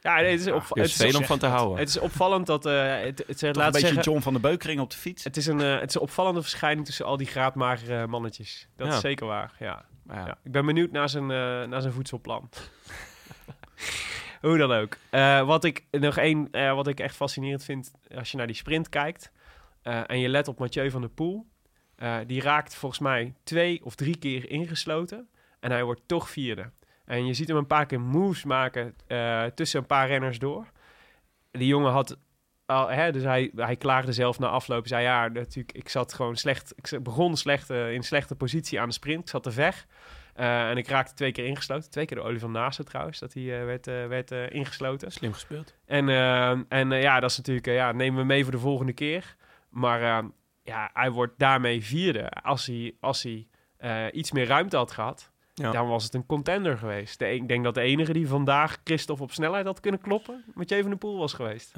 Ja, nee, het is, op,
Er
het
is
is,
veel om van te houden.
het is opvallend dat... eh, het,
Toch
het,
een
laat
beetje
zeggen,
John van de Beukering op de fiets.
het, is een, eh, het is een opvallende verschijning tussen al die graadmagere mannetjes. Dat
Ja.
is zeker waar, ja.
Maar ja.
ja. Ik ben benieuwd naar zijn, eh, naar zijn voedselplan. Hoe dan ook. Eh, wat ik nog één, eh, wat ik echt fascinerend vind als je naar die sprint kijkt eh, en je let op Mathieu van der Poel. eh, die raakt volgens mij twee of drie keer ingesloten en hij wordt toch vierde. En je ziet hem een paar keer moves maken eh, tussen een paar renners door. Die jongen had al, hè, dus hij, hij klaagde zelf na afloop. Zei ja, natuurlijk, ik zat gewoon slecht. Ik z- begon slecht, eh, in slechte positie aan de sprint. Ik zat te ver. Eh, en ik raakte twee keer ingesloten. Twee keer door Oliver Naasten trouwens, dat hij eh, werd, eh, werd eh, ingesloten.
Slim gespeeld.
En, eh, en eh, ja, dat is natuurlijk, eh, ja, nemen we mee voor de volgende keer. Maar eh, ja, hij wordt daarmee vierde. Als hij, als hij eh, iets meer ruimte had gehad,
Ja.
dan was het een contender geweest. De, e-, ik denk dat de enige die vandaag Christophe op snelheid had kunnen kloppen, Mathieu van der Poel was geweest.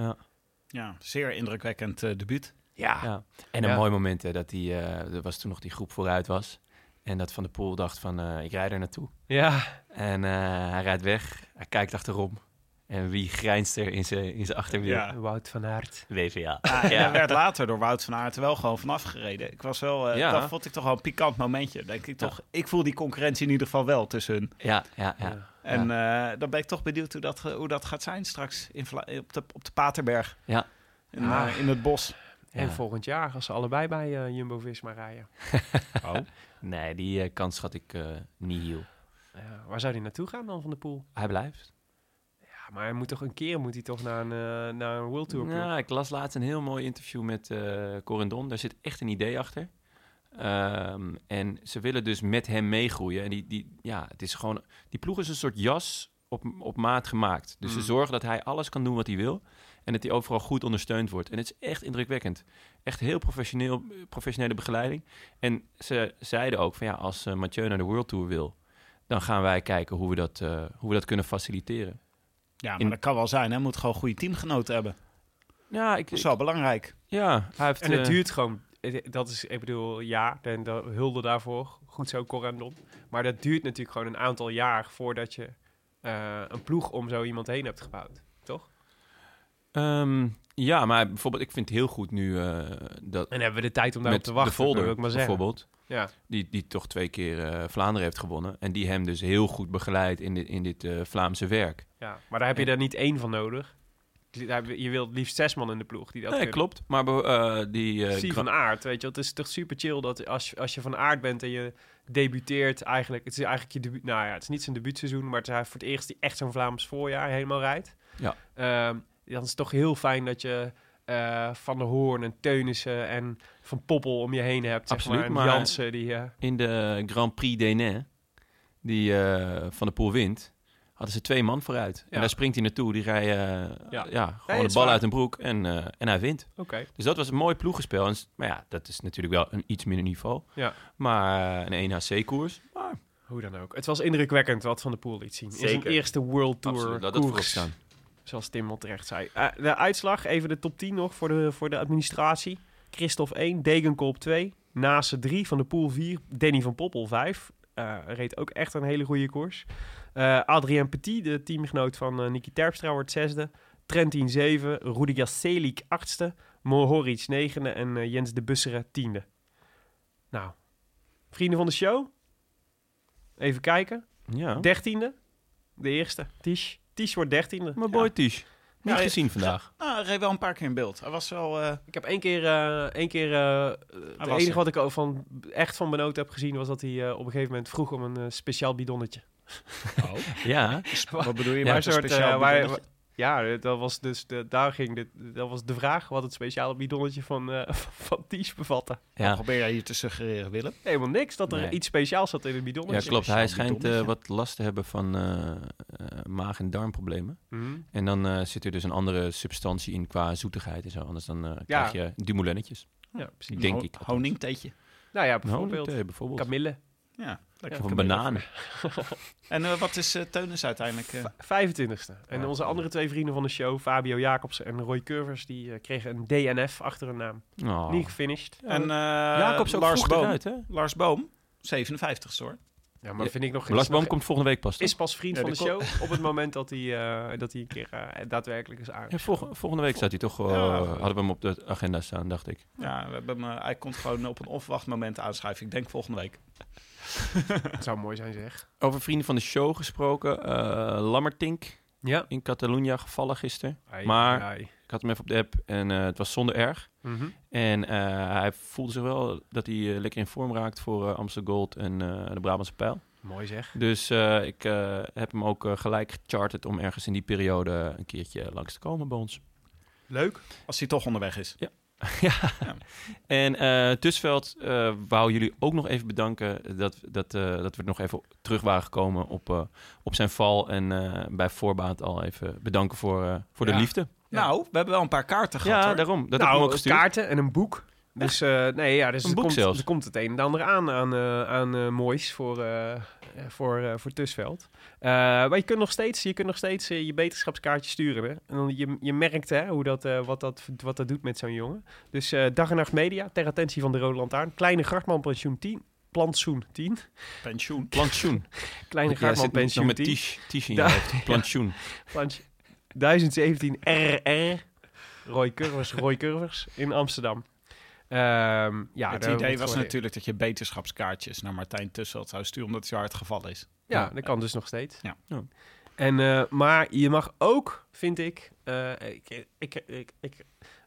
Ja, zeer indrukwekkend eh, debuut.
Ja. Ah, En een
Ja.
mooi moment hè, dat die, eh, er was toen nog die groep vooruit was. En dat Van der Poel dacht van, eh, ik rijd er naartoe.
Ja,
En eh, hij rijdt weg, hij kijkt achterom. En wie grijnst er in zijn in zijn achterwiel?
Ja.
Wout van Aert.
WVA.
Ah, en daar werd later door Wout van Aert wel gewoon vanaf gereden. Ik was wel, eh,
Ja.
dat vond ik toch wel een pikant momentje. Denk ik, toch, ik voel die concurrentie in ieder geval wel tussen hun.
Ja, ja, ja.
En eh, dan ben ik toch benieuwd hoe dat, ge- hoe dat gaat zijn straks in Vla- op, de, op de Paterberg.
Ja.
In, eh,
Ah.
in het bos.
En
Ja.
volgend jaar als ze allebei bij eh, Jumbo-Visma rijden.
Nee, die eh, kans schat ik eh, niet heel.
Ja, waar zou die naartoe gaan dan van de Poel?
Hij blijft.
maar hij moet toch een keer moet hij toch naar een, eh, naar een World Tour ploeg.
Ja, ik las laatst een heel mooi interview met eh Corendon. Daar zit echt een idee achter. Ehm, en ze willen dus met hem meegroeien. En die, die, ja, het is gewoon, die ploeg is een soort jas op, op maat gemaakt. Dus ze zorgen dat hij alles kan doen wat hij wil. En dat hij overal goed ondersteund wordt. En het is echt indrukwekkend. Echt heel professioneel, professionele begeleiding. En ze zeiden ook van ja, als eh, Mathieu naar de World Tour wil... dan gaan wij kijken hoe we dat, eh, hoe we dat kunnen faciliteren.
Ja, maar
In-
dat kan wel zijn. Hij moet gewoon goede teamgenoten hebben.
Ja, ik,
Dat is wel belangrijk.
ja hij heeft...
En het
eh,
duurt gewoon. het- Dat is, ik bedoel, ja, en de hulde daarvoor. Goed zo, Corandon. Maar dat duurt natuurlijk gewoon een aantal jaar voordat je eh, een ploeg om zo iemand heen hebt gebouwd. Toch?
Ehm, ja, maar bijvoorbeeld, ik vind het heel goed nu eh, dat
En hebben we de tijd om daarop
met
te wachten.
de Volder
wil ik maar zeggen.
bijvoorbeeld,
Ja.
die, die toch twee keer eh, Vlaanderen heeft gewonnen en die hem dus heel goed begeleidt in dit, in dit eh, Vlaamse werk.
ja, maar daar heb je er niet één van nodig. Daar heb Je je wilt liefst zes man in de ploeg die dat
nee,
kunnen.
klopt. Maar be- eh, die eh,
Steve
Gra-
van Aert, weet je, wel. het is toch super chill dat als, je- als je van Aert bent en je debuteert eigenlijk, het is eigenlijk je debuut, nou ja, het is niet zijn debuutseizoen, maar het is voor het eerst die echt zo'n Vlaams voorjaar helemaal rijdt.
Ja.
Ehm, dan is het toch heel fijn dat je eh, Van der Hoorn en Teunissen en Van Poppel om je heen hebt, zeg
Absoluut,
maar. En
maar-
Jansen, die... eh,
in de Grand Prix d'Enais, die eh, van de Poel wint, hadden ze twee man vooruit.
Ja.
En daar springt hij naartoe, die rijdt eh,
Ja.
ja.
het
gewoon
is
de bal
waar.
uit een broek en, eh, en hij wint.
Oké.
Dus dat was een mooi ploegenspel. En s- Maar ja, dat is natuurlijk wel een iets minder niveau.
Ja,
Maar eh, een 1HC-koers.
hoe dan ook. Het was indrukwekkend wat Van der Poel liet zien. In
Zeker.
zijn eerste World Tour
Absoluut, laat dat
koers.
voorop staan.
Zoals Tim al terecht zei. Eh, de uitslag, even de top 10 nog voor de, voor de administratie. Christophe 1, Degenkolb 2, Nase 3, Van de Poel 4, Danny van Poppel 5. Eh, reed ook echt een hele goede koers. Eh, Adrien Petit, de teamgenoot van eh Nicky Terpstra, wordt zesde. Trentin 7, Rudi Jaselik 8e, Mohoric 9e en eh, Jens de Busseren 10e. Nou, vrienden van de show, even kijken.
Ja.
13e, de eerste, Tish. Tish wordt 13e.
Mijn boy Tish. Niet
Ja,
gezien vandaag.
Nou, hij reed wel een paar keer in beeld. Hij was wel... eh,
Ik heb één keer, eh, één keer eh, het
was
enige
er.
wat ik ook van, echt van benoten heb gezien, was dat hij eh, op een gegeven moment vroeg om een eh, speciaal bidonnetje.
Ja.
wat bedoel je
Ja,
met
een
een speciaal
eh, waar-
bidonnetje?
ja, dat was dus de, daar ging de, dat was de vraag wat het speciale bidonnetje van, eh van Ties bevatte.
Wat
Ja.
Probeer jij hier te suggereren, Willem?
Helemaal niks dat er
Nee.
iets speciaals zat in het
ja,
bidonnetje.
klopt. Hij schijnt eh,
donnetje.
wat last te hebben van eh, eh, maag- en darmproblemen.
Mhm.
En dan eh, zit er dus een andere substantie in qua zoetigheid en zo. Anders dan eh, krijg je dumoulinnetjes,
Ja, precies.
denk
Ho-
ik.
Honingtheetje.
Nou ja,
Nou,
bijvoorbeeld
eh, bijvoorbeeld.
Camille.
Ja, lekker.
Of een banaan.
En eh, wat is eh Teunis uiteindelijk? eh?
25e. En onze andere twee vrienden van de show, Fabio Jacobsen en Roy Curvers, die eh, kregen een DNF achter hun naam.
Oh.
Niet gefinished.
en eh
Jacobs ook
Lars
vroeg
Boom.
eruit, hè?
Lars Boom, 57 hoor.
Ja, maar dat vind ik nog
Lars Boom
nog-
komt volgende week pas. toch?
is pas vriend
Ja,
van de
die
show op het moment dat hij, eh, dat hij een keer eh, daadwerkelijk is aan.
Ja, volg- volgende week staat hij toch. eh,
Ja.
Hadden we hem op de agenda staan, dacht ik.
Ja, we hebben hem, eh, hij komt gewoon op een opwachtmoment aanschuiven. Ik denk volgende week.
Dat zou mooi zijn zeg.
Over vrienden van de show gesproken. eh Lammertink
Ja.
in Catalonia gevallen gisteren. Maar- Ik had hem even op de app en eh, het was zonder erg. En eh, hij voelde zich wel dat hij eh, lekker in vorm raakt voor eh Amsterdam Gold en eh, de Brabantse Pijl.
Mooi zeg.
Dus eh, ik eh, heb hem ook eh, gelijk gecharterd om ergens in die periode een keertje langs te komen bij ons.
Leuk.
Als hij toch onderweg is.
ja. En eh Tusveld, eh wou jullie ook nog even bedanken dat, dat, eh, dat we nog even terug waren gekomen op, eh, op zijn val. En eh, bij voorbaat al even bedanken voor, eh, voor de
Ja.
liefde.
Nou, we hebben wel een paar kaarten gehad
ja,
hoor.
daarom. Dat heb ik hem
nou,
ook gestuurd.
kaarten en een boek. Dus eh, nee, ja, dus
Een
er,
boek
komt,
zelfs.
er komt het een en ander aan aan, eh, aan eh, moois voor, eh, eh, voor, eh, voor Tusveld. Eh, maar je kunt nog steeds je, kunt nog steeds, eh, je beterschapskaartje sturen. Hè? En dan, je, je merkt hè, hoe dat, eh, wat, dat, wat dat doet met zo'n jongen. Dus eh, dag en nacht media, ter attentie van de Rode Lantaarn. Kleine Gartman pensioen 10. Plantsoen 10.
Pensioen.
Plantsoen.
Kleine
Jij
Gartman
zit nog
pensioen
met
10.
tisch, tisch in je
Ja.
hoofd. Plantsoen.
Plantje. 1017 RR. Roy Curvers, Roy Curvers in Amsterdam. Ehm, ja,
het
daar
idee
wordt
was
gewoon-
natuurlijk dat je beterschapskaartjes naar Martijn Tusselt zou sturen, omdat hij zo hard gevallen is.
Ja, dat kan dus nog steeds.
Ja.
Ja.
En, eh, maar je mag ook, vind ik, eh, ik, ik, ik, ik, ik,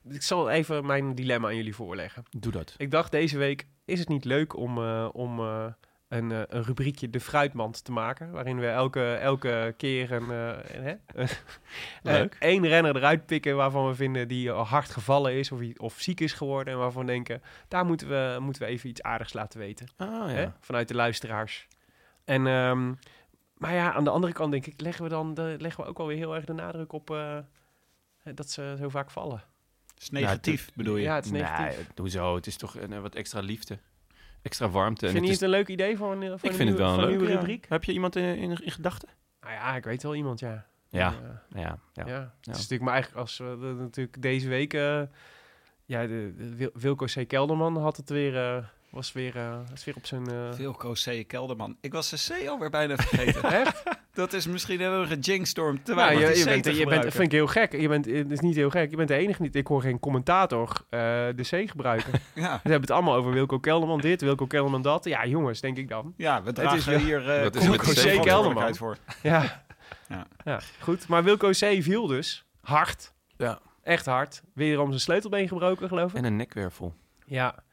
ik zal even mijn dilemma aan jullie voorleggen.
Doe dat.
Ik dacht deze week, is het niet leuk om, eh, om eh, een, eh, een rubriekje De Fruitmand te maken. Waarin we elke, elke keer een, eh, een, hè, eh,
Leuk.
één renner eruit pikken waarvan we vinden die eh, hard gevallen is of, i- of ziek is geworden. En waarvan we denken, daar moeten we, moeten we even iets aardigs laten weten.
Ah,
Hè? Vanuit de luisteraars. En, ehm, maar ja, aan de andere kant denk ik, leggen we dan de, leggen we ook alweer heel erg de nadruk op eh, dat ze zo vaak vallen.
is negatief, bedoel je?
Ja, het is negatief.
Nee, hoezo? Het is toch een, eh, wat extra liefde. Extra warmte. en
Vind je
het dus
het een leuk idee voor een, eh, voor
ik
een
vind
nieuwe,
het wel
voor
een
een
leuke
nieuwe
ja.
rubriek?
Heb je iemand in, in, in gedachten?
Nou ja, ik weet wel iemand, ja.
Ja.
Eh,
Ja, ja.
Ja. Het is natuurlijk maar eigenlijk als we de- natuurlijk deze week. eh, ja, de, de Wil- Wilco C. Kelderman had het weer. eh, was weer, eh, is weer op zijn. eh,
Wilco C. Kelderman. Ik was de C alweer bijna vergeten.
Echt?
Dat is misschien een enorme jinxstorm.
Nou,
Terwijl
je,
je,
je bent, je bent, vind ik heel gek. Je bent, het is niet heel gek. Je bent de enige niet. Ik hoor geen commentator eh, de C gebruiken. Ze
Ja,
hebben het allemaal over Wilco Kelderman dit, Wilco Kelderman dat. Ja, jongens, denk ik dan.
ja we dragen
is wel-
hier eh
Dat is met
Wilco
C.
C.
Kelderman.
verantwoordelijkheid voor.
Ja.
Ja.
ja. Goed, maar Wilco C. viel dus hard.
Ja.
Echt hard. Weer om zijn sleutelbeen gebroken, geloof ik.
En een nekwervel.
Ja.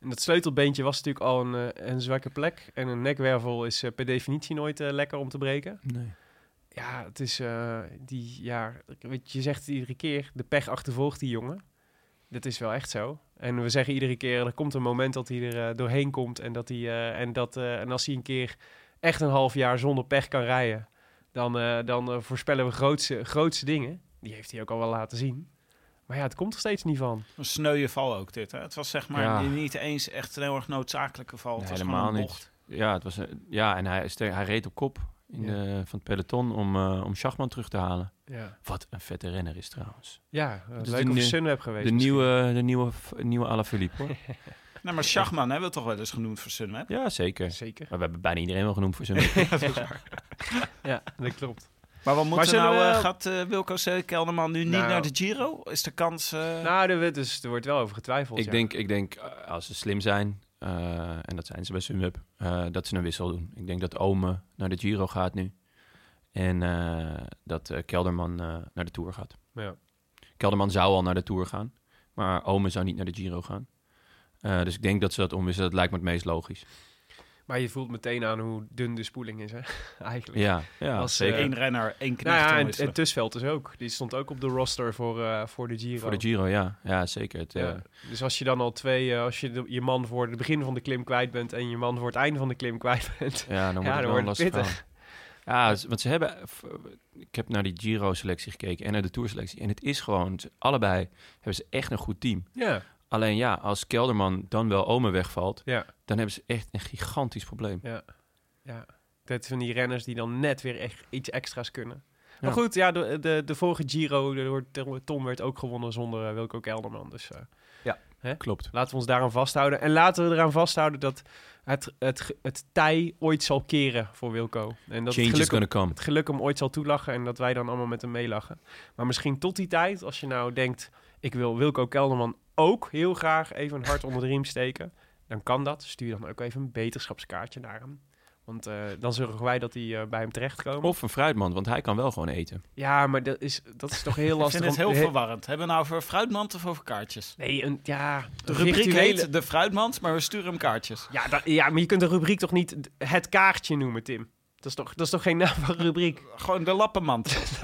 En dat sleutelbeentje was natuurlijk al een, eh, een zwakke plek. En een nekwervel is eh, per definitie nooit eh, lekker om te breken.
Nee.
Ja, het is eh, die, ja, ik- weet je, je zegt iedere keer, de pech achtervolgt die jongen. Dat is wel echt zo. En we zeggen iedere keer, er komt een moment dat hij er eh, doorheen komt. En, dat hij, eh, en, dat, eh, en als hij een keer echt een half jaar zonder pech kan rijden, dan, eh, dan eh, voorspellen we grootse, grootse dingen. Die heeft hij ook al wel laten zien. Maar ja, het komt er steeds niet van.
Een sneuwe val ook dit. Hè? Het was zeg maar
Ja.
niet eens echt een heel erg noodzakelijke val.
Nee,
het was
helemaal
gewoon een
niet.
bocht.
Ja, het was een, ja, en hij, ster- hij reed op kop in
Ja.
de, van het peloton om, eh om Schachman terug te halen.
Ja.
Wat een vette renner is trouwens.
Ja, eh,
Dus
leuk
de
of je
ne-
Sunweb geweest.
De
misschien.
nieuwe, de nieuwe, f- nieuwe Alaphilippe hoor.
Nee, maar Schachman hebben we toch wel eens genoemd voor Sunweb?
ja, zeker.
Zeker.
Maar we hebben bijna iedereen wel genoemd voor zijn werk.
Ja, dat klopt.
Maar wat moeten
zullen
nou?
we-
eh, gaat eh, Wilco C. Kelderman nu niet
Nou.
naar de Giro? Is de kans... eh,
Nou, er, wordt dus, er wordt wel over getwijfeld.
ik
ja.
denk, ik denk eh, als ze slim zijn, eh, en dat zijn ze bij Sunweb, eh, dat ze een wissel doen. Ik denk dat Ome naar de Giro gaat nu. En eh, dat eh, Kelderman eh, naar de Tour gaat.
Ja.
Kelderman zou al naar de Tour gaan. Maar Ome zou niet naar de Giro gaan. Eh, dus ik denk dat ze dat omwisselen. Dat lijkt me het meest logisch.
Maar je voelt meteen aan hoe dun de spoeling is, hè? Eigenlijk.
Ja, ja
Als,
zeker.
eh,
Eén renner, één knecht.
Nou ja, en,
omwisselen.
en Tussveld dus ook. Die stond ook op de roster voor, eh, voor de Giro.
Voor de Giro, ja. Ja, zeker. Het, eh,
Ja. Dus als je dan al twee, eh, als je de- je man voor het begin van de klim kwijt bent en je man voor het einde van de klim kwijt bent.
Ja, dan wordt het
Ja, dan
wel een
wordt
lastig
het
verhaal. Ja, z- want ze hebben... f- Ik heb naar die Giro-selectie gekeken en naar de Tour-selectie. En het is gewoon... ze- Allebei hebben ze echt een goed team.
Ja,
Alleen ja, als Kelderman dan wel Ome wegvalt...
Ja.
dan hebben ze echt een gigantisch probleem.
dat van die renners die dan net weer echt iets extra's kunnen. Maar
Ja.
goed, ja, de, de, de vorige Giro door Tom werd ook gewonnen zonder eh, Wilco Kelderman. Dus eh,
Klopt.
Laten we ons daaraan vasthouden. En laten we eraan vasthouden dat het, het, ge- het tij ooit zal keren voor Wilco. En dat
Change
het,
is
geluk hem,
gonna come.
het geluk hem ooit zal toelachen en dat wij dan allemaal met hem meelachen. Maar misschien tot die tijd, als je nou denkt... ik wil Wilco Kelderman ook heel graag even een hart onder de riem steken... dan kan dat. Stuur dan ook even een beterschapskaartje naar hem. Want eh, dan zorgen wij dat hij eh, bij hem terechtkomt.
Of een fruitman, want hij kan wel gewoon eten.
Ja, maar dat is, dat is toch heel
Ik
lastig.
vind het
om-
heel verwarrend. Hebben we nou over fruitmand of over kaartjes?
Nee, een, ja...
De
een
rubriek
virtuele-
heet De Fruitmand, maar we sturen hem kaartjes.
Ja, da- ja, maar je kunt de rubriek toch niet d- het kaartje noemen, Tim? Dat is toch, dat is toch geen naam van rubriek?
Gewoon de lappenmand.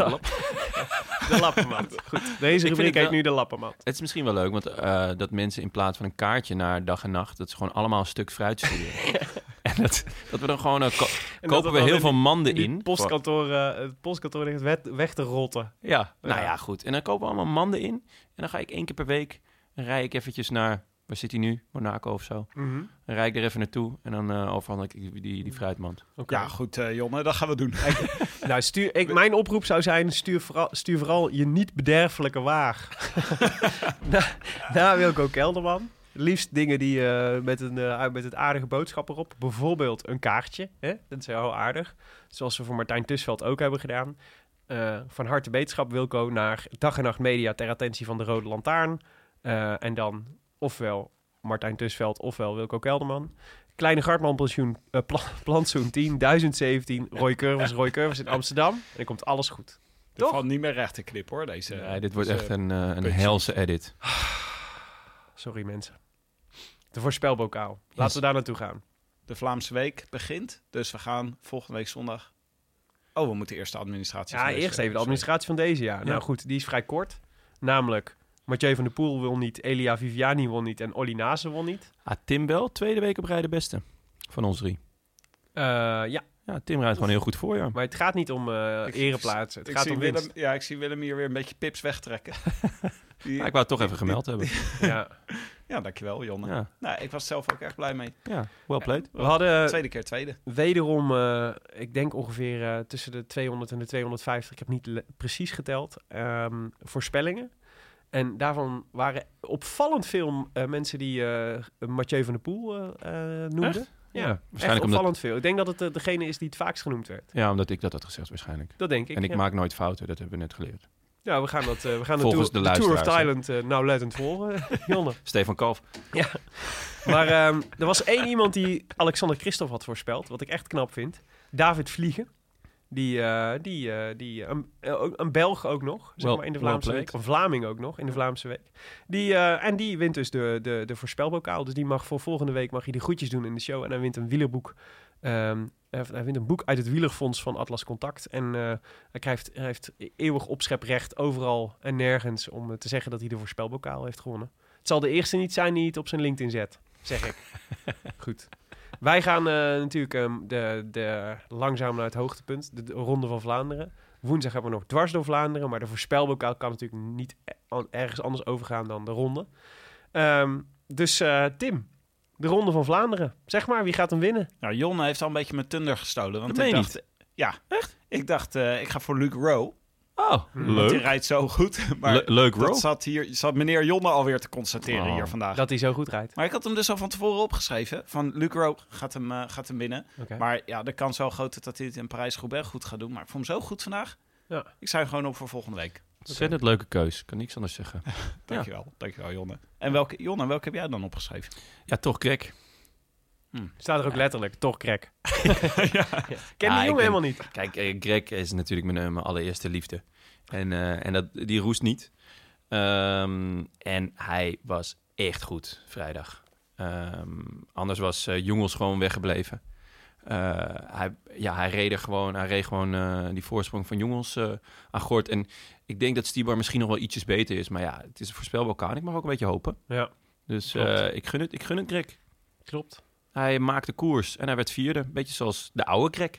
De Lappenmand. Goed, deze
het
rubriek heet
wel-
nu de Lappenmand.
Het is misschien wel leuk, want eh, dat mensen in plaats van een kaartje naar dag en nacht... dat ze gewoon allemaal een stuk fruit sturen. en dat, dat we dan gewoon... eh, ko-
dat
kopen
dat
we
dan
heel
in
veel manden
die
in. Voor-
postkantoor, eh, het postkantoor ligt wet- weg te rotten.
Ja, nou
Ja.
ja, goed. En dan kopen we allemaal manden in. En dan ga ik één keer per week, dan rij ik eventjes naar, waar zit hij nu? Monaco of zo. Dan rijd ik er even naartoe en dan eh overhandel ik die, die, die fruitmand.
Oké.
Ja, goed, eh, Jonne, dat gaan we doen.
Nou, stuur, ik, mijn oproep zou zijn, stuur vooral, stuur vooral je niet bederfelijke waag. Na- Naar Wilco Kelderman. Liefst dingen die eh, met, een, eh, met het aardige boodschap erop. Bijvoorbeeld een kaartje. Hè? Dat is heel aardig. Zoals we voor Martijn Tusveld ook hebben gedaan. Eh, van harte beterschap Wilco naar Dag en Nacht Media ter attentie van de Rode Lantaarn. Eh, en dan ofwel Martijn Tusveld ofwel Wilco Kelderman. Kleine Gartman pensioen, eh, pla- plantsoen 10, 1017, Roy Curvers, Roy Curvers in Amsterdam. En dan komt alles goed.
Dat
Toch?
valt niet meer recht te knip, hoor, deze.
Nee, dit wordt
dus,
echt een, eh, een
puntje.
helse edit.
Sorry mensen. De voorspelbokaal. Laten we daar naartoe gaan.
De Vlaamse Week begint. Dus we gaan volgende week zondag... Oh, we moeten eerst de administratie
Ja,
van deze-
eerst even de administratie van deze jaar. Nou goed, die is vrij kort. Namelijk, Mathieu van der Poel wil niet, Elia Viviani wil niet en Olly Nase wil niet.
Ah, Tim wel, tweede week op rij de beste van ons drie.
Eh, ja,
Ja, Tim rijdt gewoon heel goed voor, ja.
maar het gaat niet om eh
Ik-
ereplaatsen. Het
Ik
gaat
zie,
om
Willem,
winst.
ja, ik zie Willem hier weer een beetje pips wegtrekken. Die-
Ja, ik wou het toch even gemeld hebben.
Ja.
ja, dankjewel, Jonne.
Ja,
Nou, ik was zelf ook echt blij mee.
ja well played.
We hadden
Tweede keer tweede.
wederom, eh, ik denk ongeveer eh, tussen de 200 en de 250, ik heb niet le- precies geteld, ehm, voorspellingen. En daarvan waren opvallend veel eh, mensen die eh, Mathieu van der Poel eh, eh, noemden. Ja, echt
waarschijnlijk omdat,
opvallend veel. Ik denk dat het eh, degene is die het vaakst genoemd werd.
ja, omdat ik dat had gezegd waarschijnlijk.
Dat denk ik.
en ik
ja.
maak nooit fouten, dat hebben we net geleerd.
Ja, we gaan, dat, eh, we gaan de,
Volgens
tour,
de
de Tour of
luisteraars, hè.
Thailand eh, nauwlettend volgen, Jonne.
Stefan Kalf.
Maar ehm, er was één iemand die Alexander Christophe had voorspeld, wat ik echt knap vind. David Vliegen. Die, eh, die, eh, die eh, een, eh, ook- een Belg ook nog, zeg
Wel-
maar, in de
well
Vlaamse
played.
Week. Een Vlaming ook nog, in de Vlaamse Week. Die, eh, en die wint dus de, de, de voorspelbokaal. Dus die mag voor volgende week mag hij de groetjes doen in de show. En hij wint een wielerboek. ehm, hij hij wint een boek uit het wielerfonds van Atlas Contact. En eh, hij, krijgt, hij heeft eeuwig opscheprecht overal en nergens om eh, te zeggen dat hij de voorspelbokaal heeft gewonnen. Het zal de eerste niet zijn die het op zijn LinkedIn zet, zeg ik. Goed. Wij gaan eh, natuurlijk ehm, de, de, langzaam naar het hoogtepunt, de, de Ronde van Vlaanderen. Woensdag hebben we nog dwars door Vlaanderen, maar de voorspelbokaal kan natuurlijk niet e- an- ergens anders overgaan dan de Ronde. Ehm, dus eh, Tim, de Ronde van Vlaanderen. Zeg maar, wie gaat hem winnen?
Nou, Jonne heeft al een beetje mijn thunder gestolen. Want
Dat
ik
meen je
dacht, Ja. Echt? Ik dacht, eh, ik ga voor Luke Rowe.
Oh,
Hmm.
Want die
leuk.
rijdt zo goed. Maar
Le- leuk,
dat
bro.
zat, hier, zat meneer Jonne alweer te constateren
Oh.
hier vandaag.
Dat hij zo goed rijdt.
Maar ik had hem dus al van tevoren opgeschreven. Van Luke Rowe gaat hem, eh, gaat hem winnen.
Oké.
Maar ja, de kans wel groot dat hij het in Parijs-Roubaix goed gaat doen. Maar ik vond hem zo goed vandaag.
Ja.
Ik zei hem gewoon op voor volgende week.
Ontzettend leuke keus. Kan niks anders zeggen.
Dankjewel. Dankjewel, Jonne. En welke, Jonne, welke heb jij dan opgeschreven?
Ja, toch Greg.
Staat er ook letterlijk, toch krek. Ken
Ah,
die
ik
jongen
ben-
helemaal niet.
Kijk, eh, Greg is natuurlijk mijn, eh, mijn allereerste liefde. En, eh, en dat, die roest niet. Ehm, en hij was echt goed vrijdag. Ehm, anders was eh, Jongels gewoon weggebleven. Eh, hij, ja, hij reed er gewoon, hij reed gewoon eh, die voorsprong van Jongels eh aan Gort. En ik denk dat Stibar misschien nog wel ietsjes beter is. Maar ja, het is een voorspelbalkaan. Ik mag ook een beetje hopen.
Ja,
Dus
Klopt.
eh, ik, gun het, ik gun het Greg.
klopt.
Hij maakte koers en hij werd vierde. Beetje zoals de oude Greg.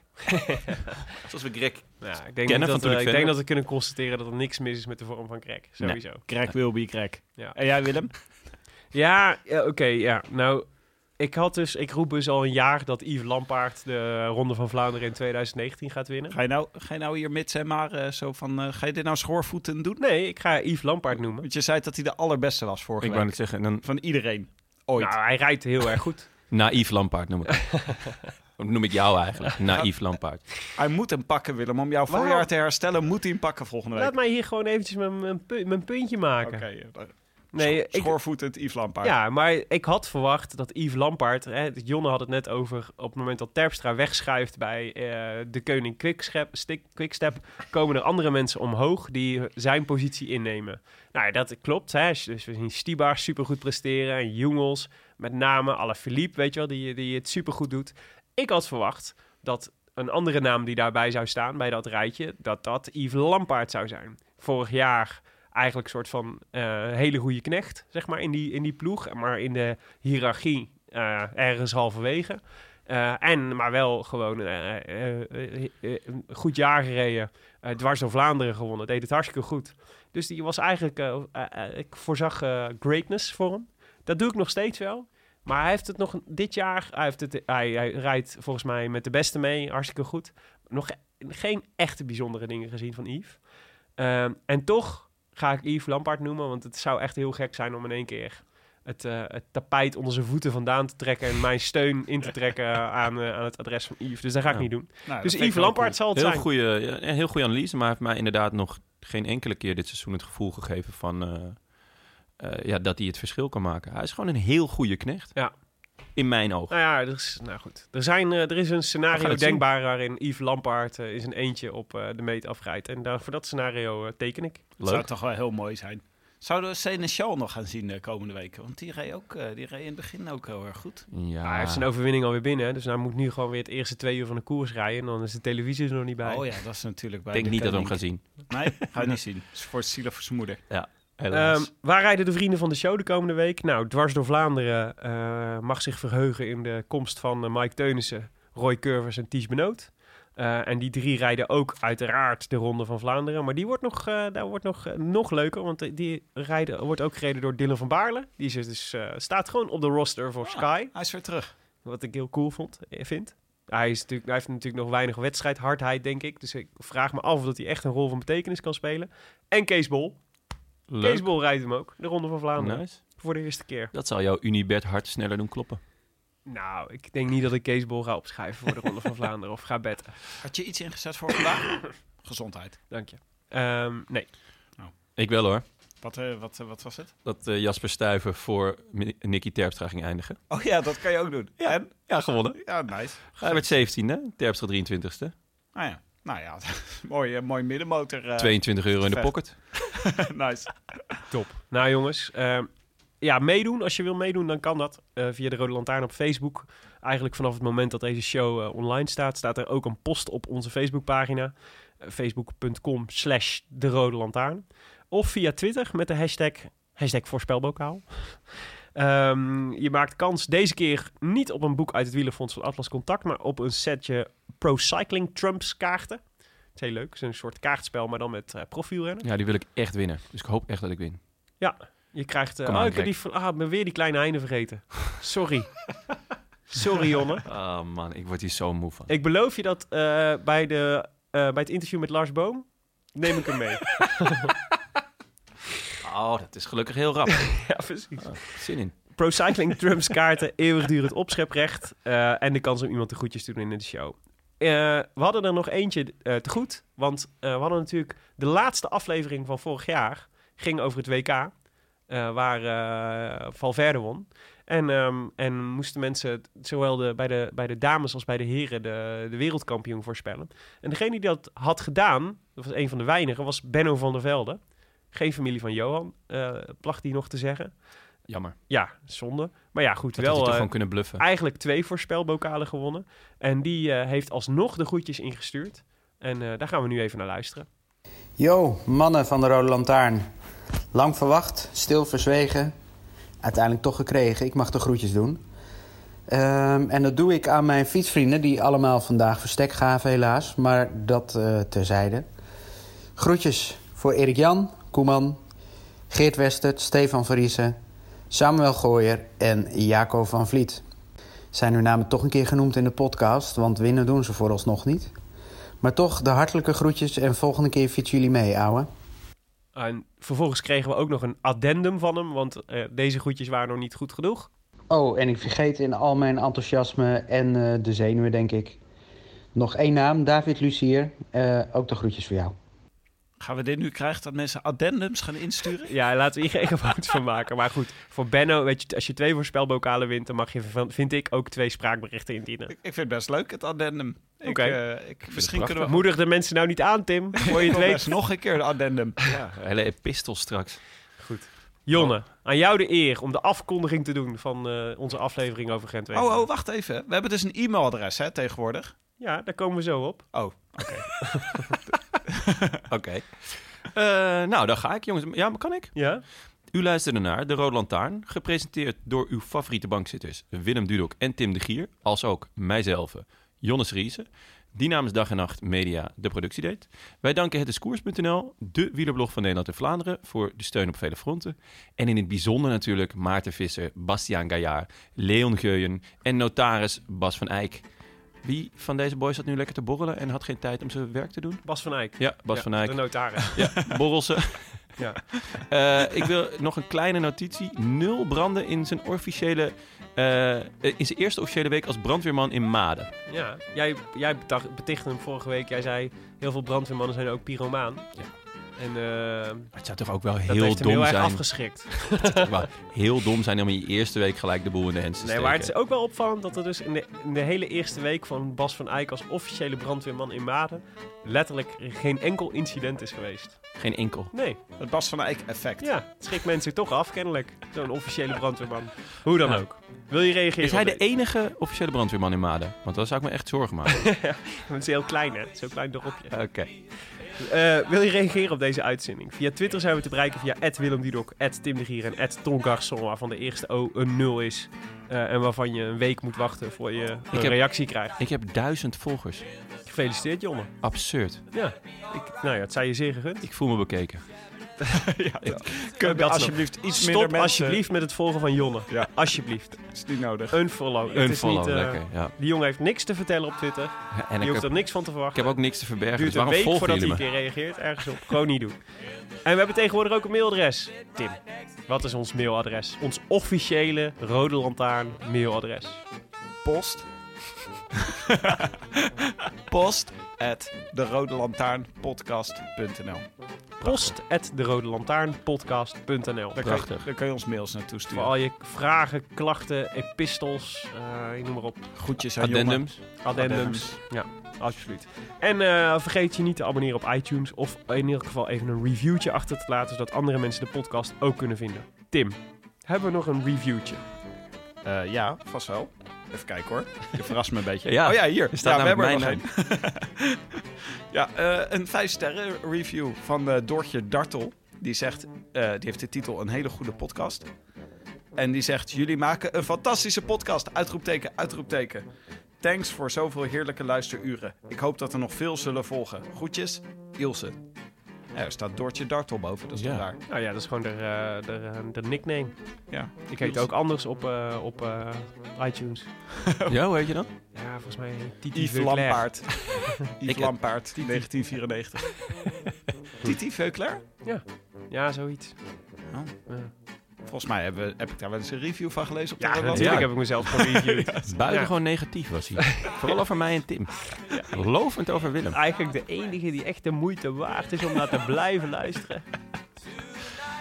zoals we Greg
Ja,
Kennen
ik denk, niet
van
dat,
toen
we,
ik
ik
fan
denk
was.
dat we kunnen constateren dat er niks mis is met de vorm van krek. Sowieso.
Crack will be crack.
Ja.
En jij, Willem?
Ja, ja, oké. ja. Nou, ik, had dus, ik roep dus al een jaar dat Yves Lampaard de Ronde van Vlaanderen in 2019 gaat winnen.
Ga je nou, ga je nou hier mits en maar eh, zo van... eh, ga je dit nou schoorvoeten doen?
Nee, ik ga Yves Lampaard noemen.
Want je zei dat hij de allerbeste was vorige
Ik wou
week.
net zeggen, een
Van iedereen. Ooit.
Nou, hij rijdt heel erg goed.
naïef lampaard noem ik hem. Dat noem ik jou eigenlijk, naïef lampaard.
Hij moet hem pakken, Willem. Om jouw
Waarom?
voorjaar te herstellen, moet hij hem pakken volgende week.
Laat mij hier gewoon eventjes mijn, mijn, pu- mijn puntje maken.
Oké, eh, maar-
Nee, ik,
schoorvoetend Yves Lampaard.
Ja, maar ik had verwacht dat Yves Lampaard... Hè, Jonne had het net over... op het moment dat Terpstra wegschuift bij eh, de koning Quickstep, Stik- Quickstep... komen er andere mensen omhoog die zijn positie innemen. Nou, ja, dat klopt. Hè. Dus we zien Stibar supergoed presteren... en Jungels, met name Alaphilippe, weet je wel... Die, die het supergoed doet. Ik had verwacht dat een andere naam die daarbij zou staan... bij dat rijtje, dat dat Yves Lampaard zou zijn. Vorig jaar eigenlijk soort van eh, hele goede knecht, zeg maar, in die, in die ploeg. Maar in de hiërarchie eh, ergens halverwege. Eh, en, maar wel gewoon eh, eh, eh, eh, een goed jaar gereden. eh, dwars door Vlaanderen gewonnen. Deed het hartstikke goed. Dus die was eigenlijk... eh, eh, eh, ik voorzag eh, greatness voor hem. Dat doe ik nog steeds wel. Maar hij heeft het nog dit jaar... Hij, heeft het, hij, hij rijdt volgens mij met de beste mee. Hartstikke goed. Nog geen echte bijzondere dingen gezien van Yves. Ehm, en toch ga ik Yves Lampaard noemen, want het zou echt heel gek zijn om in één keer het, eh, het tapijt onder zijn voeten vandaan te trekken en mijn steun in te trekken aan, eh, aan het adres van Yves. Dus dat ga ik
Ja.
niet doen.
Nou,
dus
dat vind ik
Yves
wel
Lampaard zal het
Heel
zijn.
goede, ja, een heel goede analyse, maar hij heeft mij inderdaad nog geen enkele keer dit seizoen het gevoel gegeven van, eh, eh, ja, dat hij het verschil kan maken. Hij is gewoon een heel goede knecht.
Ja.
In mijn ogen.
Nou ja, er is, nou goed. Er, zijn, eh, er is een
We
scenario
gaan het zien.
denkbaar waarin Yves Lampaard eh, is een eentje op eh, de meet afrijdt. En daar, voor dat scenario eh, teken ik.
cool. Het zou
Leuk.
toch wel heel mooi zijn. Zouden we Senechal nog gaan zien de komende weken? Want die reed, ook, eh, die reed in het begin ook heel erg goed.
Ja.
Ja, hij heeft zijn overwinning alweer binnen. Dus hij moet nu gewoon weer het eerste twee uur van de koers rijden. En dan is de televisie er nog niet bij.
Oh ja, dat is natuurlijk bij
Ik denk
de
niet dat we hem gaan
koning.
zien.
Nee, ga je niet zien. is voor zielig voor zijn moeder.
Ja,
Ehm, waar rijden de vrienden van de show de komende week? Nou, dwars door Vlaanderen eh, mag zich verheugen in de komst van eh, Mike Teunissen, Roy Curvers en Ties Benoot. Eh, en die drie rijden ook uiteraard de Ronde van Vlaanderen. Maar die wordt nog, eh, daar wordt nog, eh, nog leuker, want eh, die rijden, wordt ook gereden door Dylan van Baarle. Die is dus, eh, staat gewoon op de roster voor Sky,
Hij is weer terug.
wat ik heel cool vond, eh, vind. Hij, is natuurlijk, hij heeft natuurlijk nog weinig wedstrijdhardheid, denk ik. Dus ik vraag me af of dat hij echt een rol van betekenis kan spelen. En Kees Bol. Kees Bol rijdt hem ook, de Ronde van Vlaanderen.
Nice.
Voor de eerste keer.
Dat zal jouw Unibed hart sneller doen kloppen.
Nou, ik denk niet dat ik Kees Bol ga opschrijven voor de Ronde van Vlaanderen of ga betten.
Had je iets ingezet voor vandaag? Gezondheid.
Dank je. Ehm, nee.
Ik wel hoor.
Wat, eh, wat, eh, wat was het?
Dat eh, Jasper Stuyven voor Mi- Nicky Terpstra ging eindigen.
Oh ja, dat kan je ook doen. Ja, en?
Ja, gewonnen.
ja nice.
Hij werd 17e, Terpstra 23e.
Ah, ja. Nou ja, mooi, eh, mooi middenmotor. eh,
22 euro in de
vet.
pocket.
nice.
Top. Nou jongens, ehm, ja, meedoen. Als je wil meedoen, dan kan dat eh, via de Rode Lantaarn op Facebook. Eigenlijk vanaf het moment dat deze show eh, online staat, staat er ook een post op onze Facebookpagina. eh, Facebook.com slash de Rode Lantaarn. Of via Twitter met de hashtag, hashtag voorspelbokaal. Ehm, je maakt kans deze keer niet op een boek uit het Wielerfonds van Atlas Contact, maar op een setje Pro Cycling Trumps kaarten. Het is heel leuk. Het is een soort kaartspel, maar dan met eh profielrennen.
Ja, die wil ik echt winnen. Dus ik hoop echt dat ik win.
Je krijgt... eh
Kom
oh,
aan,
ik heb
Greg.
die, ver- ah, ik ben weer die kleine einde vergeten. Sorry. Sorry, Jonne.
Oh man, ik word hier zo moe van.
Ik beloof je dat eh, bij, de, eh, bij het interview met Lars Boom... neem ik hem mee.
Oh, dat is gelukkig heel rap.
ja, precies.
Oh, zin in.
Pro Cycling Trumps kaarten, eeuwigdurend opscheprecht... eh, en de kans om iemand de groetjes te doen in de show. Eh, we hadden er nog eentje eh, te goed. Want eh, we hadden natuurlijk... de laatste aflevering van vorig jaar... ging over het WK... eh, waar eh, Valverde won. En, ehm, en moesten mensen het- zowel de, bij, de, bij de dames als bij de heren de, de wereldkampioen voorspellen. En degene die dat had gedaan, dat was een van de weinigen, was Benno van der Velde. Geen familie van Johan, eh placht hij nog te zeggen.
Jammer.
Ja, zonde. Maar ja, goed,
Dat had
wel
hij toch
eh,
gewoon kunnen bluffen.
eigenlijk twee voorspelbokalen gewonnen. En die eh, heeft alsnog de groetjes ingestuurd. En eh, daar gaan we nu even naar luisteren.
Yo, mannen van de Rode Lantaarn. Lang verwacht, stil verzwegen. Uiteindelijk toch gekregen. Ik mag de groetjes doen. Ehm, en dat doe ik aan mijn fietsvrienden, die allemaal vandaag verstek gaven, helaas. Maar dat eh, terzijde. Groetjes voor Erik Jan, Koeman, Geert Westert, Stefan Verriezen, Samuel Gooyer en Jaco van Vliet. Zijn hun namen toch een keer genoemd in de podcast, want winnen doen ze vooralsnog niet. Maar toch, de hartelijke groetjes en volgende keer fietsen jullie mee, ouwe.
En vervolgens kregen we ook nog een addendum van hem, want eh, deze groetjes waren nog niet goed genoeg.
Oh, en ik vergeet in al mijn enthousiasme en eh, de zenuwen, denk ik. Nog één naam, David Lucier. Eh, ook de groetjes voor jou.
Gaan we dit nu krijgen dat mensen addendums gaan insturen?
Ja, laten we hier geen fout van maken. Maar goed, voor Benno, weet je, als je twee voorspelbokalen wint, dan mag je, van, vind ik, ook twee spraakberichten indienen.
Ik vind het best leuk, het addendum. Ik,
Oké.
eh, ik, misschien kunnen we...
Moedig de mensen nou niet aan, Tim. Voor je het
Probeer
weet.
eens nog een keer een addendum.
Hele epistel straks.
Jonne, aan jou de eer om de afkondiging te doen van eh, onze aflevering over gent
Oh, oh, wacht even. We hebben dus een e-mailadres hè, tegenwoordig.
Ja, daar komen we zo op.
Oh,
Oké. Eh, nou, dan ga ik jongens. Ja, maar kan ik?
Ja?
U luisterde naar De Rode Lantaarn, gepresenteerd door uw favoriete bankzitters Willem Dudok en Tim de Gier, als ook mijzelf, Jonnes Riese, die namens Dag en Nacht Media de productie deed. Wij danken het is koers.nl, de wielerblog van Nederland en Vlaanderen, voor de steun op vele fronten. En in het bijzonder natuurlijk Maarten Visser, Bastiaan Gaillard, Leon Geuyen en notaris Bas van Eyck. Wie van deze boys zat nu lekker te borrelen en had geen tijd om zijn werk te doen?
Bas van Eyck.
Ja, Bas
Ja,
van Eyck.
De notaris.
Ja, borrelsen.
Ja.
Eh, ik wil nog een kleine notitie. Nul branden in zijn officiële... eh, eh, in zijn eerste officiële week als brandweerman in Maden.
ja. Jij, jij betacht- betichtte hem vorige week. Jij zei, heel veel brandweermannen zijn ook pyromaan. En eh,
Maar het zou toch ook wel
dat
heel
heeft hem heel
dom
erg
zijn.
afgeschrikt.
Maar heel dom zijn om in je eerste week gelijk de boel in de hens te
Nee,
steken.
maar het is ook wel opvallend dat er dus in de, in de hele eerste week van Bas van Eyck als officiële brandweerman in Maden letterlijk geen enkel incident is geweest.
Geen enkel.
Nee,
Het Bas van Eyck effect.
ja, het schrikt mensen toch af kennelijk, zo'n officiële brandweerman. Hoe dan
Nou.
ook. Wil je reageren?
Is hij
op
de e-
deze?
enige officiële brandweerman in Maden? Want daar zou ik me echt zorgen maken.
Want het is heel klein hè, zo'n klein dorpje.
Oké.
Eh, wil je reageren op deze uitzending? Via Twitter zijn we te bereiken via Willem Dudok, Tim de Gier en Ton Garçon, waarvan de eerste O een nul is. eh, en waarvan je een week moet wachten voor je een
heb-
reactie krijgt.
Ik heb duizend volgers.
Gefeliciteerd, Jonne.
Absurd.
Ja, ik, nou ja, het zij je zeer gegund.
Ik voel me bekeken.
Kunnen we
Dat
alsjeblieft iets
Stop
minder mensen...
alsjeblieft met het volgen van Jonne.
Ja.
Alsjeblieft.
Is niet nodig.
Unfollow. Het
Een
is niet,
follow,
eh,
lekker. Ja.
Die jongen heeft niks te vertellen op Twitter.
En
Je
ik
hoeft
heb,
er niks van te
ik
verwachten.
heb ook niks te verbergen,
Duurt
dus
een
waarom
week
volgen
voordat hij
jullie
een
me?
keer reageert. Ergens op. Gewoon niet doen. En we hebben tegenwoordig ook een mailadres. Tim, wat is ons mailadres? Ons officiële Rode Lantaarn mailadres.
Post. Post at de Rode Lantaarn podcast.nl.
Post at de Rode Lantaarn podcast.nl.
Daar, kan je-
Prachtig.
daar kan je ons mails naartoe
Voor
sturen.
al je vragen, klachten, epistels, eh, ik noem maar op.
Groetjes aan jongen.
Addendums.
Addendums.
Addendums.
Ja, absoluut. En eh, vergeet je niet te abonneren op iTunes. Of in ieder geval even een reviewtje achter te laten. Zodat andere mensen de podcast ook kunnen vinden. Tim, hebben we nog een reviewtje?
Eh, ja, vast wel. Even kijken hoor. Je verrast me een beetje.
Ja,
oh ja, hier.
er staat
ja,
namelijk
er
mijn
nog één. ja, eh, een 5 sterren review van eh Dortje Dartel. Die zegt, eh, die heeft de titel Een hele goede podcast. En die zegt, jullie maken een fantastische podcast. Uitroepteken, uitroepteken. Thanks voor zoveel heerlijke luisteruren. Ik hoop dat er nog veel zullen volgen. Groetjes, Ilse. Ja, er staat Dortje Dartel boven, dat is
Ja.
toch raar.
Nou ja, dat is gewoon de, eh, de, eh, de nickname.
Ja.
Ik heet
Niels.
ook anders op, eh, op eh, iTunes.
Ja, hoe heet je dan?
Ja, volgens mij Titi
Yves
Verclair.
Lampaard.
Ik-
Yves Lampaard, 1994. Titi Veuclair?
Ja, zoiets.
Volgens mij hebben we- heb ik daar wel eens een review van gelezen op de
Ja,
Roland.
natuurlijk heb ik mezelf gereviewd.
Buitengewoon negatief was hij. Vooral over mij en Tim. Lovend over Willem.
Eigenlijk de enige die echt de moeite waard is om naar te blijven luisteren.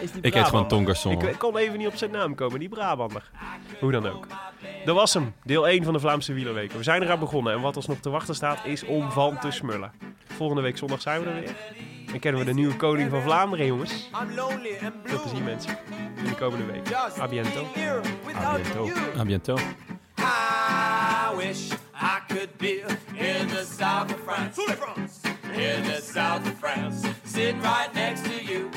Is die
Ik heet
Brabant.
gewoon Ton Garçon.
Ik, ik kon even niet op zijn naam komen, die Brabander. Hoe dan ook. Dat was hem, deel 1 van de Vlaamse Wielerweken. We zijn eraan begonnen en wat ons nog te wachten staat is om van te smullen. Volgende week zondag zijn we er weer. Dan kennen we de nieuwe koning van Vlaanderen, jongens.
I'm lonely and blue.
Tot te zien, mensen. In de komende week.
Just
A biento.
being here without
biento.
you.
A bientôt.
I wish I could be in the south of France. In the south of France. Sitting right next to you.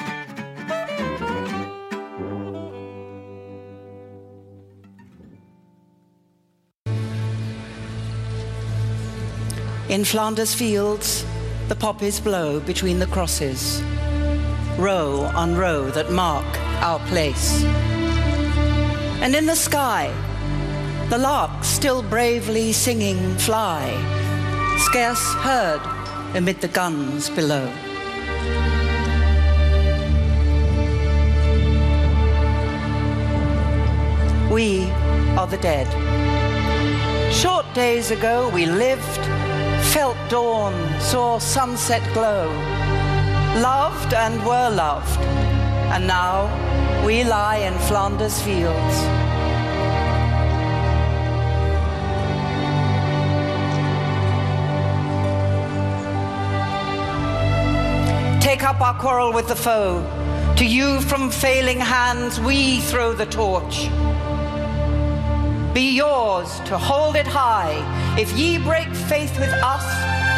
In Flanders fields, the poppies blow between the crosses, row on row that mark our place. And in the sky, the lark still bravely singing fly, scarce heard amid the guns below. We are the dead. Short days ago we lived, felt dawn, saw sunset glow, loved and were loved, and now we lie in Flanders fields. Take up our quarrel with the foe. To you from failing hands we throw the torch be yours to hold it high. If ye break faith with us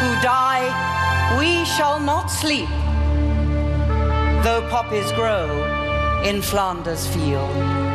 who die, we shall not sleep, though poppies grow in Flanders field.